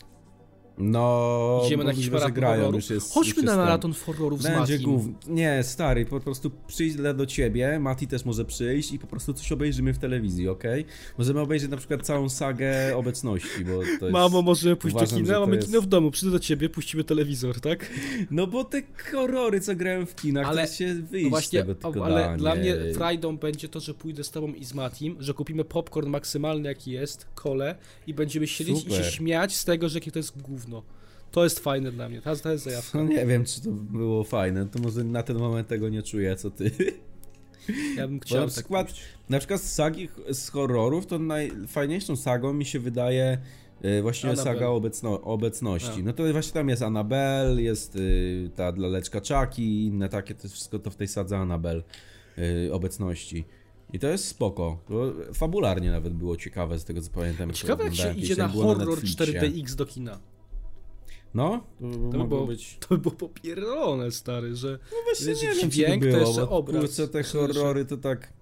No, Idziemy na jakiś możliwe, że maraton grają, horrorów. już jest, już Chodźmy jest na ten. maraton horrorów z Będzie Matim. główny. Nie, stary, po prostu przyjdę do ciebie, Mati też może przyjść i po prostu coś obejrzymy w telewizji, okej? Możemy obejrzeć na przykład całą sagę obecności, bo to jest... Mamo, możemy pójść Uważam, do że kina, to mamy jest- kino w domu, przyjdę do ciebie, puścimy telewizor, tak? No bo te horrory, co grałem w kinach, ale... Ale- to się wyjść No z właśnie, tego tylko ale da, dla nie. mnie frajdą będzie to, że pójdę z tobą i z Matim, że kupimy popcorn maksymalny jaki jest, kole i będziemy siedzieć i Super. się śmiać z tego, że jakie to jest gówno. To jest fajne dla mnie, to, to jest *laughs* zajawka. No nie wiem, czy to było fajne, to może na ten moment tego nie czuję, co ty. Ja bym Bo chciał na tak przykład, na przykład z sagi, z horrorów, to najfajniejszą sagą mi się wydaje y, właśnie Annabelle. saga obecno, obecności. A. No to właśnie tam jest Anabel, jest y, ta dla leczka Chucky i inne takie, to wszystko to w tej sadze Anabel y, obecności. I to jest spoko. To fabularnie nawet było ciekawe z tego co pamiętam. jak to Ciekawe jak się oglądałem idzie kiedyś, na jak było horror Netflixie. 4DX do kina. *laughs* No, to, To by mogło było, być. to by było popierdolone, stary, że... No właśnie Wiecie, nie wiem, czy dźwięk to to było, jeszcze bo obraz. kurczę, te Myślę, że- horrory to tak...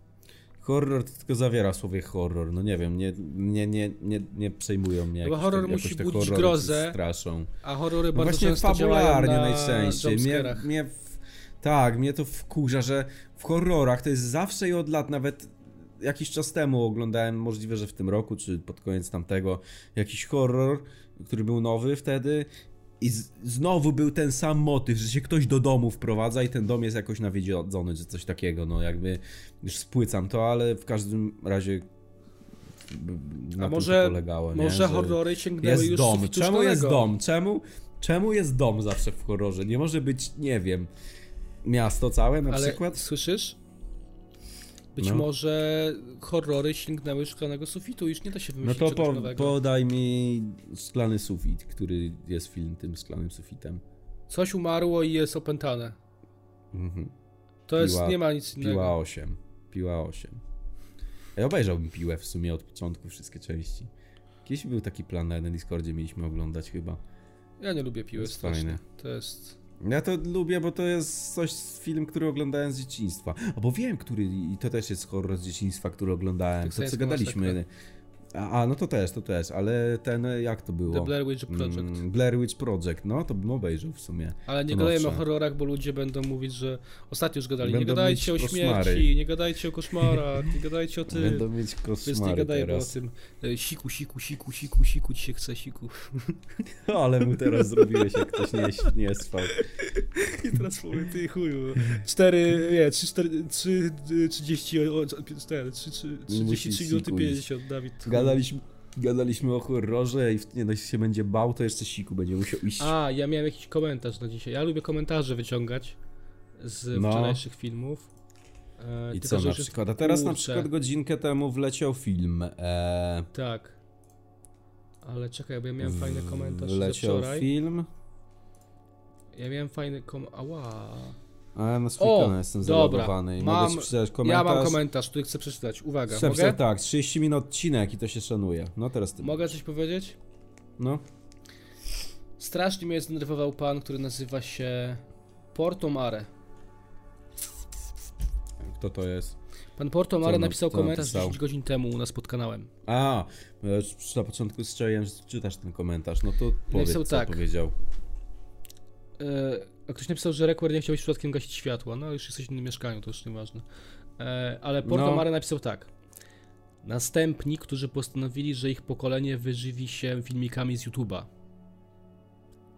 Horror to tylko zawiera słowie horror, no nie wiem, nie, nie, nie, nie, nie przejmują mnie No bo jakoś horror te, musi jakoś te budzić horrory grozę. czy straszą. A horrory No bardzo właśnie często działają fabularnie na najczęściej. Mnie, jumpscarach. mnie w, tak, mnie to wkurza, że w horrorach to jest zawsze i od lat, nawet jakiś czas temu oglądałem, możliwe, że w tym roku, czy pod koniec tamtego, jakiś horror, który był nowy wtedy. I z, znowu był ten sam motyw, że się ktoś do domu wprowadza i ten dom jest jakoś nawiedziony, czy coś takiego. No jakby już spłycam to, ale w każdym razie b- b- na A tym może, to polegało. nie? może Że- horrory sięgnęły jest już dom. sufitu Czemu jest szklanego? dom? Czemu, czemu jest dom zawsze w horrorze? Nie może być, nie wiem, miasto całe na Ale przykład? słyszysz? Być No. może horrory sięgnęły szklanego sufitu, już nie da się No wymyślić to czegoś po, nowego. podaj mi Sklany Sufit, który jest film tym Szklanym Sufitem. Coś umarło i jest opętane. Mhm. To jest, Piła- nie ma nic innego. Piła 8. Piła 8. Ja obejrzałbym Piłę w sumie od początku, wszystkie części. Kiedyś był taki plan na na Discordzie, mieliśmy oglądać chyba. Ja nie lubię piły, Jest strasznie. fajne. To jest... Ja to lubię, bo to jest coś z film, który oglądałem z dzieciństwa. A bo wiem, który i to też jest horror z dzieciństwa, który oglądałem. Tak, To co Saints gadaliśmy. A, a, no to też, to też, ale ten jak to było? tak- The Blair Witch Project. Mm, Blair Witch Project, no to bym obejrzał w sumie. Ale nie To gadajmy o nowsze. horrorach, bo ludzie będą mówić, że ostatnio już gadali, nie Będą gadajcie o mieć śmierci, koszmary. nie gadajcie o koszmarach, nie gadajcie o tym. Będą mieć Więc nie koszmary gadajmy o teraz. tym. E, Siku, siku, siku, siku, siku, ci się chce, siku. *laughs* Ale mu teraz zrobiłeś, jak ktoś nie, nie spał. *laughs* I teraz powiem, ty chuju. 4, nie, 3, 4, 3, 30, o, o, pi- cztery, trzy, trzy, Musisz 33 minuty sikuić. 50, Dawid. chuj. Gadaliśmy, gadaliśmy o horrorze i w- nie dość się będzie bał, to jeszcze siku będzie musiał iść. A, ja miałem jakiś komentarz na dzisiaj. Ja lubię komentarze wyciągać z No. wczorajszych filmów. E, I tylko, co że na już jest- przykład? A teraz na kurczę. przykład godzinkę temu wleciał film. E... Tak. Ale czekaj, bo ja miałem fajny komentarz ze Wleciał wczoraj. film. Ja miałem fajny kom... Ała. Ale na O, Switchona jestem dobra. zalogowany i mogę Mam, ci przeczytać ja komentarz. mam komentarz, który chcę przeczytać. Uwaga, Chcę mogę? przeczytać, tak, 30 minut odcinek i to się szanuje. No teraz ty. Mogę coś powiedzieć? No. Strasznie mnie zdenerwował pan, który nazywa się Portomare. Kto to jest? Pan Co Portomare on napisał nap- co komentarz napisał? 10 godzin temu u nas pod kanałem. A, bo ja już przy- na początku strzeliłem, że czytasz ten komentarz. No to powiedz, Napisał co tak. powiedział. E, a ktoś napisał, że Requer nie chciał być przypadkiem gasić światła. No, już jesteś w innym mieszkaniu, to już nieważne. E, ale Portomare No. napisał tak. Następni, którzy postanowili, że ich pokolenie wyżywi się filmikami z YouTube'a.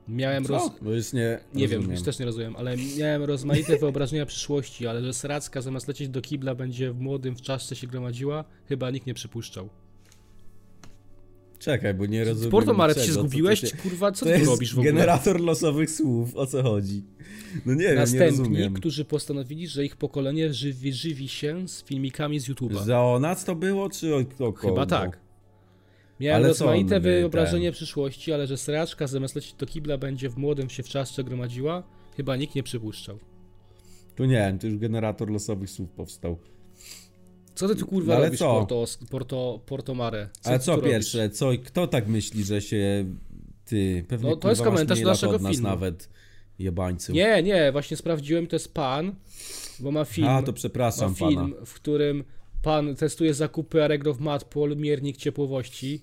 Miałem roz... Co? Bo już nie Nie wiem, rozumiem. już też nie rozumiem, ale miałem *laughs* rozmaite wyobrażenia przyszłości, ale że Sracka zamiast lecieć do kibla będzie w młodym w czaszce się gromadziła, chyba nikt nie przypuszczał. Czekaj, bo nie rozumiem Porto Maret się niczego, co zgubiłeś? ty się- Kurwa, co to ty tu jest robisz w ogóle? generator losowych słów, o co chodzi? No nie wiem, nie Następni, rozumiem. którzy postanowili, że ich pokolenie żywi, żywi się z filmikami z YouTube'a. Za o nas to było, czy o, o Chyba kogo? tak. Miałem Ale co rozmaite on, y, wyobrażenie przyszłości, ale że Sraczka zamiast lecieć do kibla będzie w młodym się w czaszce gromadziła, chyba nikt nie przypuszczał. Tu nie wiem, tu już generator losowych słów powstał. Co ty tu kurwa No Ale robisz, co? Porto, Porto, Porto Mare? Ale ty co tu robisz? pierwsze, co, kto tak myśli, że się ty, pewnie No, to jest kurwa masz komentarz mniej do lat naszego od nas filmu. nawet, jebańcu. Nie, nie, właśnie sprawdziłem, to jest pan, bo ma film, A, to ma przepraszam film pana. w którym pan testuje zakupy Aregro w Matpol, miernik ciepłowości.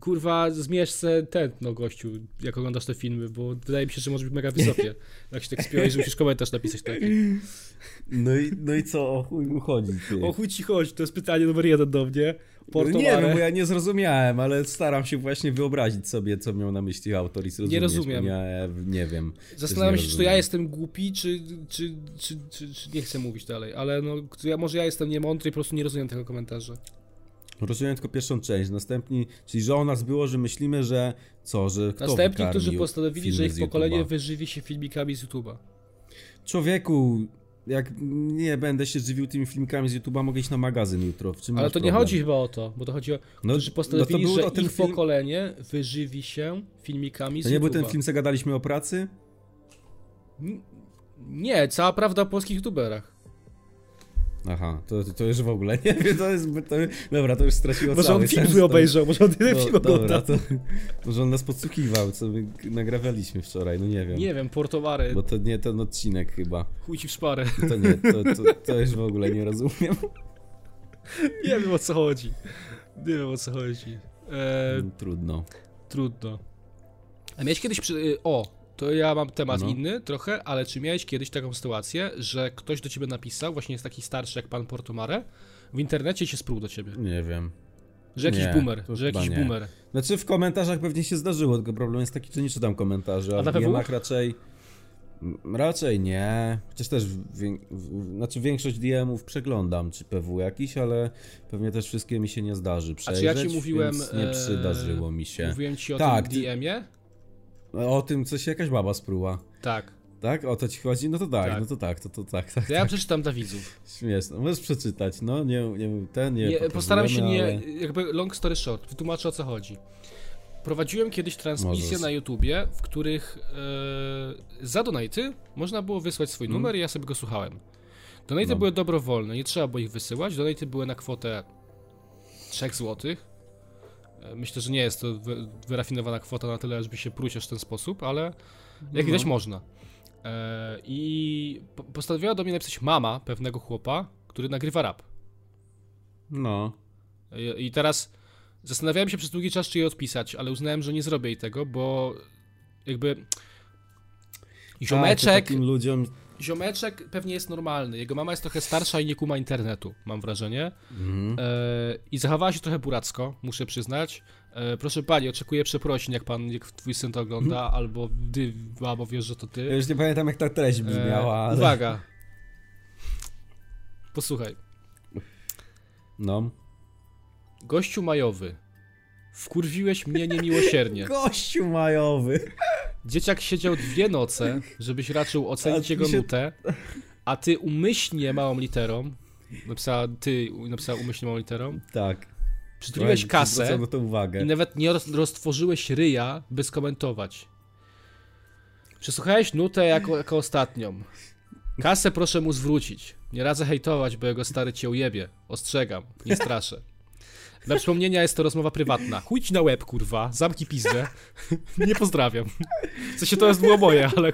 Kurwa, zmierz se tętno, gościu, jak oglądasz te filmy, bo wydaje mi się, że może być mega *laughs* wysokie. Jak się tak spiąłeś, że musisz komentarz napisać taki. No i, no i co, o chuj mu chodzi, ty? O chuj ci chodź, to jest pytanie numer jeden do mnie. Porto nie Mare. wiem, bo ja nie zrozumiałem, ale staram się właśnie wyobrazić sobie, co miał na myśli autor i zrozumieć. rozumiem. bo Nie, nie wiem. Też Zastanawiam nie się, czy to rozumiem. ja jestem głupi, czy, czy, czy, czy, czy nie chcę mówić dalej, ale no, ja, może ja jestem niemądry i po prostu nie rozumiem tego komentarza. Rozumiem tylko pierwszą część, następni, czyli że o nas było, że myślimy, że co, że kto Następni, wykarmił którzy postanowili, że filmy ich z pokolenie YouTube'a? wyżywi się filmikami z YouTube'a. Człowieku, jak nie będę się żywił tymi filmikami z YouTube'a, mogę iść na magazyn jutro. W czym Ale masz to nie problem? chodzi chyba o to, bo to chodzi o. No, którzy no to postanowili, był że to ten ich film- pokolenie wyżywi się filmikami To z nie YouTube'a. był ten film, co gadaliśmy o pracy? Nie, cała prawda o polskich youtuberach. Aha, to, to już w ogóle nie *laughs* wiem, to jest... To, dobra, to już straciło cały sens. to- może on jeden *laughs* to- dobra, to, Może on nas podsłuchiwał, co my g- nagrywaliśmy wczoraj, no nie wiem. Nie wiem, portowary, Bo to nie ten odcinek chyba. chuj ci w szparę. *laughs* To nie, to, to, to już w ogóle nie rozumiem. nie wiem o co chodzi. Nie wiem o co chodzi. E, Trudno. Trudno. A miałeś kiedyś. Przy... y, O, to ja mam temat No. inny trochę, ale czy miałeś kiedyś taką sytuację, że ktoś do ciebie napisał, właśnie jest taki starszy jak pan Portomare, w internecie się sprół do ciebie? Nie wiem. Że jakiś Nie, boomer, to że chyba jakiś nie. boomer. Znaczy w komentarzach pewnie się zdarzyło, tylko problem jest taki, że nie czytam komentarzy, A a, na w PW? DMach raczej... m, Raczej nie, chociaż też, wię... w- znaczy większość DMów przeglądam, czy PW jakiś, ale pewnie też wszystkie mi się nie zdarzy ja ci przejrzeć, mówiłem, więc nie e, przydarzyło mi się. Mówiłem ci o Tak, tym ty- DM-ie? O tym, co się jakaś baba spruła, Tak. tak? O to ci chodzi? No to tak, Tak. no to tak, to, to tak, tak, To ja przeczytam dla widzów. śmieszne. Możesz przeczytać, no, nie, nie ten, nie, Nie, postaram się nie. pokazujemy, ale- Jakby long story short, wytłumaczę o co chodzi. Prowadziłem kiedyś transmisje Możesz. na YouTubie, w których e, za donaty można było wysłać swój Mhm. numer i ja sobie go słuchałem. Donaty No. były dobrowolne, nie trzeba było ich wysyłać. Donaty były na kwotę 3 zł. Myślę, że nie jest to wy- wyrafinowana kwota na tyle, żeby się pruć aż w ten sposób, ale jak widać No. można. E, I po- postanowiła do mnie napisać mama pewnego chłopa, który nagrywa rap. No, I- I teraz zastanawiałem się przez długi czas, czy jej odpisać, ale uznałem, że nie zrobię jej tego, bo jakby. Tak, Ziomeczek, to takim ludziom, ziomeczek pewnie jest normalny. Jego mama jest trochę starsza i nie kuma internetu, mam wrażenie. Mhm. E, I zachowała się trochę buracko, muszę przyznać. E, proszę pani, oczekuję przeprosin, jak pan, jak twój syn to ogląda, Mhm. albo ty, albo wiesz, że to ty. ja już nie pamiętam jak ta treść E, brzmiała, E, ale... Uwaga. Posłuchaj. No. Gościu majowy. Wkurwiłeś mnie niemiłosiernie. Gościu majowy. Dzieciak siedział dwie noce, żebyś raczył ocenić A jego mi się- nutę, a ty umyślnie małą literą, napisała ty, napisała umyślnie małą literą, Tak. przytuliłeś Słuchaj, kasę zwracam na to uwagę. i nawet nie roz- roztworzyłeś ryja, by skomentować. Przesłuchałeś nutę jako, jako ostatnią. Kasę proszę mu zwrócić. Nie radzę hejtować, bo jego stary cię ujebie. Ostrzegam, nie straszę. Dla przypomnienia jest to rozmowa prywatna. Chuj ci na łeb, kurwa. Zamki pizdę. Nie pozdrawiam. W sensie to jest było moje, ale...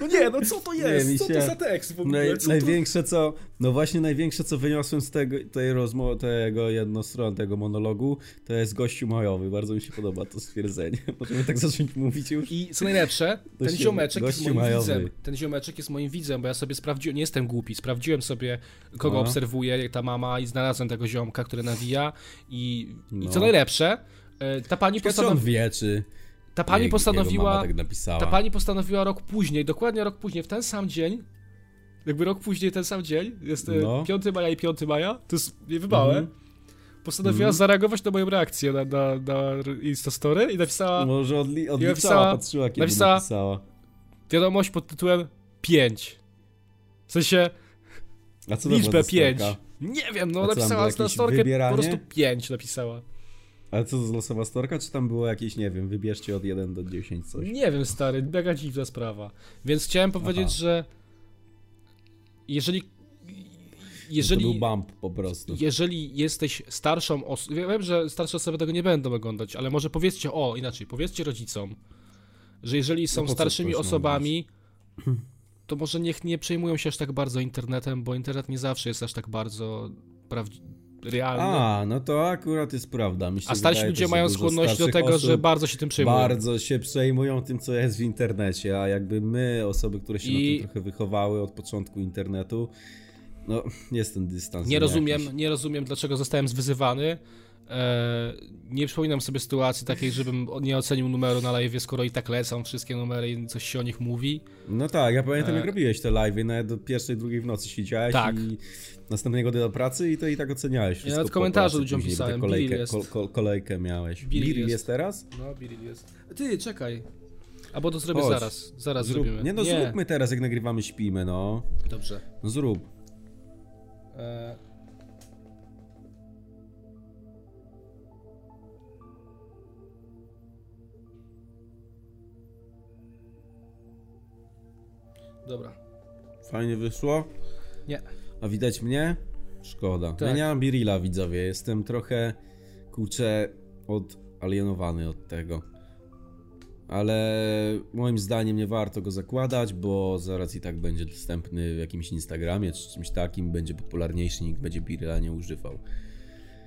No nie, no co to jest? mi Co to się- za tekst *laughs* w Naj, największe co, no właśnie największe co wyniosłem z tego, tej rozmowy, tego jednostron, tego monologu, to jest gościu majowy, bardzo mi się podoba to stwierdzenie, *laughs* możemy tak zacząć mówić już. I co najlepsze, ten Gościu- ziomeczek jest gościu moim majowy. widzem. Ten ziomeczek jest moim widzem, bo ja sobie sprawdziłem, nie jestem głupi, sprawdziłem sobie, kogo No. obserwuje jak ta mama i znalazłem tego ziomka, który nawija i, i co No. najlepsze, e, ta pani, Czy postanowi- on wie, czy ta pani jej- jego mama postanowiła tak napisała. Ta pani postanowiła rok później, dokładnie rok później, w ten sam dzień. Jakby rok później, ten sam dzień, jest e, No. Mhm. 5 maja i 5 maja, to jest niebywałe. Postanowiła zareagować na moją reakcję na, na, na Instastory i napisała Może odli- odliczała, napisała- patrzyła kiedy napisała- napisała, napisała. wiadomość pod tytułem 5. W sensie A co to liczbę była 5. pięć. Nie wiem, no A co, tam napisała było jakieś Instastorkę, po wybieranie? prostu 5 napisała. Ale co to losowa storka, czy tam było jakieś, nie wiem, wybierzcie od 1 do 10 coś. Nie wiem, stary, mega dziwna sprawa. Więc chciałem powiedzieć, Aha. że jeżeli. Jeżeli... Jeżeli. To był bump po prostu. Jeżeli jesteś starszą osobą, wiem, że starsze osoby tego nie będą oglądać, ale może powiedzcie, o inaczej, powiedzcie rodzicom, że jeżeli są No po co starszymi ktoś ma Hmm. osobami, to może niech nie przejmują się aż tak bardzo internetem, bo internet nie zawsze jest aż tak bardzo prawdzi- realny. A, A, no to akurat jest prawda. Mi się starsi wydaje ludzie też, że mają dużo skłonność do starszych tego, że osób bardzo się tym przejmują. Bardzo się przejmują tym, co jest w internecie, a jakby my, osoby, które się I- na tym trochę wychowały od początku internetu, no jest ten dystans. Nie rozumiem, jakiś. nie rozumiem, dlaczego zostałem zwyzywany. E, nie przypominam sobie sytuacji takiej, żebym o- nie ocenił numeru na live, skoro i tak lecą wszystkie numery i coś się o nich mówi. No tak, ja pamiętam, E. jak robiłeś te live'y, nawet do pierwszej, drugiej w nocy siedziałeś Tak. i następnego dnia do pracy i to i tak oceniałeś wszystko nawet po komentarze pracy ludziom później, bo tę pisałem, Kolejkę, Bill jest. Kol, kol, kolejkę miałeś. Bill Bill, jest. jest. teraz? No, Biril jest. Ty, czekaj. Albo to zrobię Chodź. zaraz. Zaraz Zrób... zrobimy. Nie no, zróbmy teraz, jak nagrywamy, śpimy, no. Dobrze. No zrób. E... Dobra. Fajnie wyszło. Nie. A widać mnie? Szkoda. Tak. Ja nie mam Birilla, widzowie. Jestem trochę, kurczę, odalienowany od tego. Ale moim zdaniem nie warto go zakładać, bo zaraz i tak będzie dostępny w jakimś Instagramie czy czymś takim, będzie popularniejszy, nikt będzie Birilla nie używał,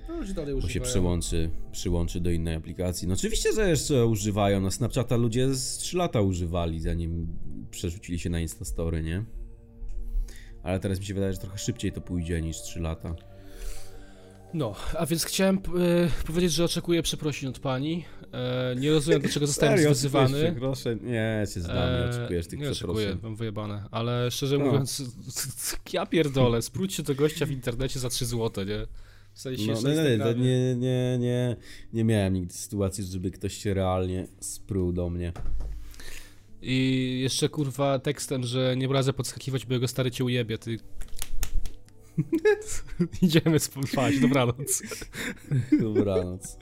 No już dalej bo się używają. przyłączy, przyłączy do innej aplikacji. No oczywiście, że jeszcze używają, na Snapchata ludzie z 3 lata używali, zanim przerzucili się na Instastory, nie? Ale teraz mi się wydaje, że trochę szybciej to pójdzie niż 3 lata. No, a więc chciałem p- e, powiedzieć, że oczekuję przeprosin od pani. E, nie rozumiem, dlaczego zostałem Serio, zwyzywany. oczekujesz Przeproszę? Nie, się znam, nie oczekujesz No, tych Eee, nie oczekuję, przeprosin. mam wyjebane, ale szczerze No. mówiąc, *laughs* ja pierdolę, spróćcie do gościa w internecie za 3 złote, nie? W sensie No, jeszcze tak no, nie, to Instagramie. nie, nie, nie, nie miałem nigdy sytuacji, żeby ktoś się realnie spruł do mnie. *laughs* I jeszcze kurwa tekstem, że nie radzę podskakiwać, bo jego stary cię ujebie, ty... *laughs* Idziemy spać, dobranoc. Dobranoc.